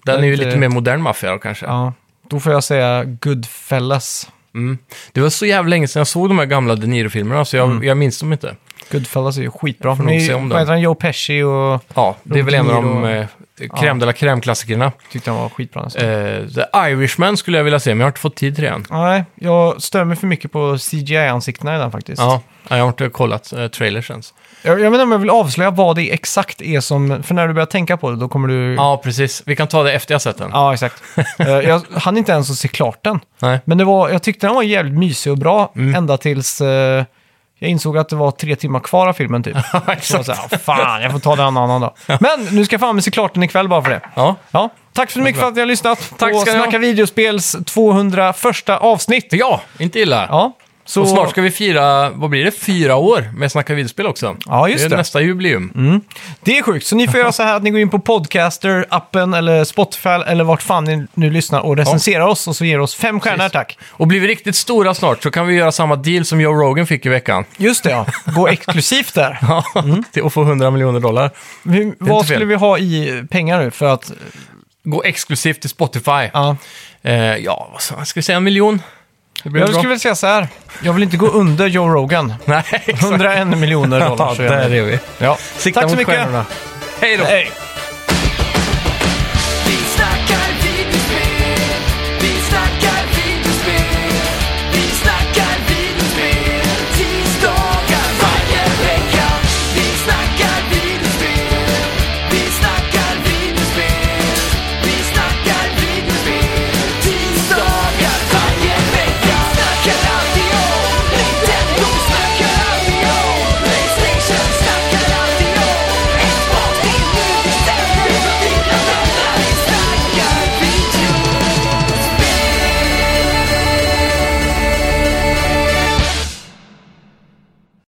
Men är ju inte- lite mer modern maffia då kanske. Ja. Då får jag säga Goodfellas. Det var så jävla länge sedan jag såg de här gamla De Niro-filmerna, så jag, jag minns dem inte. Goodfellas är ju skitbra. Får nog Med- se om vad den. heter han? Joe Pesci och... Ja, det är väl en av de De eh, crème de la crème-klassikerna. Tyckte han var skitbra nästan. Eh, The Irishman skulle jag vilja se, men jag har inte fått tid till det än. Nej, jag stör mig för mycket på CGI-ansiktena i den faktiskt. Ja, jag har inte kollat eh, trailers ens. Jag, jag menar om jag vill avslöja vad det exakt är som... För när du börjar tänka på det, då kommer du... Ja, precis. Vi kan ta det efter jag sett den. Ja, exakt. Eh, jag hann inte ens att se klart den. Nej. Men det var, jag tyckte den var jävligt mysig och bra Mm. ända tills eh, jag insåg att det var tre timmar kvar av filmen typ. Så jag exakt. sa, "Ah, fan, jag får ta den annan dag. Men nu ska jag fan med se klart den ikväll bara för det. Ja. Ja, tack så mycket för att ni har lyssnat Tack på ska ni ha. Snacka videospels 201 avsnitt. ja, inte illa. Ja, så... Och snart ska vi fira, vad blir det, fyra år med Snacka videospel också. Ja, just det. är det. Mm. nästa jubileum. Det är sjukt, så ni får göra så här att ni går in på Podcaster-appen eller Spotify eller vart fan ni nu lyssnar och recenserar oss och så ger oss fem stjärnor Precis. tack. Och blir vi riktigt stora snart så kan vi göra samma deal som Joe Rogan fick i veckan. Just det ja, gå exklusivt där. Ja, Mm. till att få 100 miljoner dollar. Vi, vad fel. skulle vi ha i pengar nu för att... Gå exklusivt till Spotify. Ja. Eh, ja, vad sa- ska vi säga en miljon? Det blir Jag bra. skulle väl säga så här, jag vill inte gå under Joe Rogan. Nej, exakt. 101 miljoner dollar. Ja, så gör jag där det. är vi. Ja. Sikta Tack så mot mycket. stjärnorna. Hej då! Hej.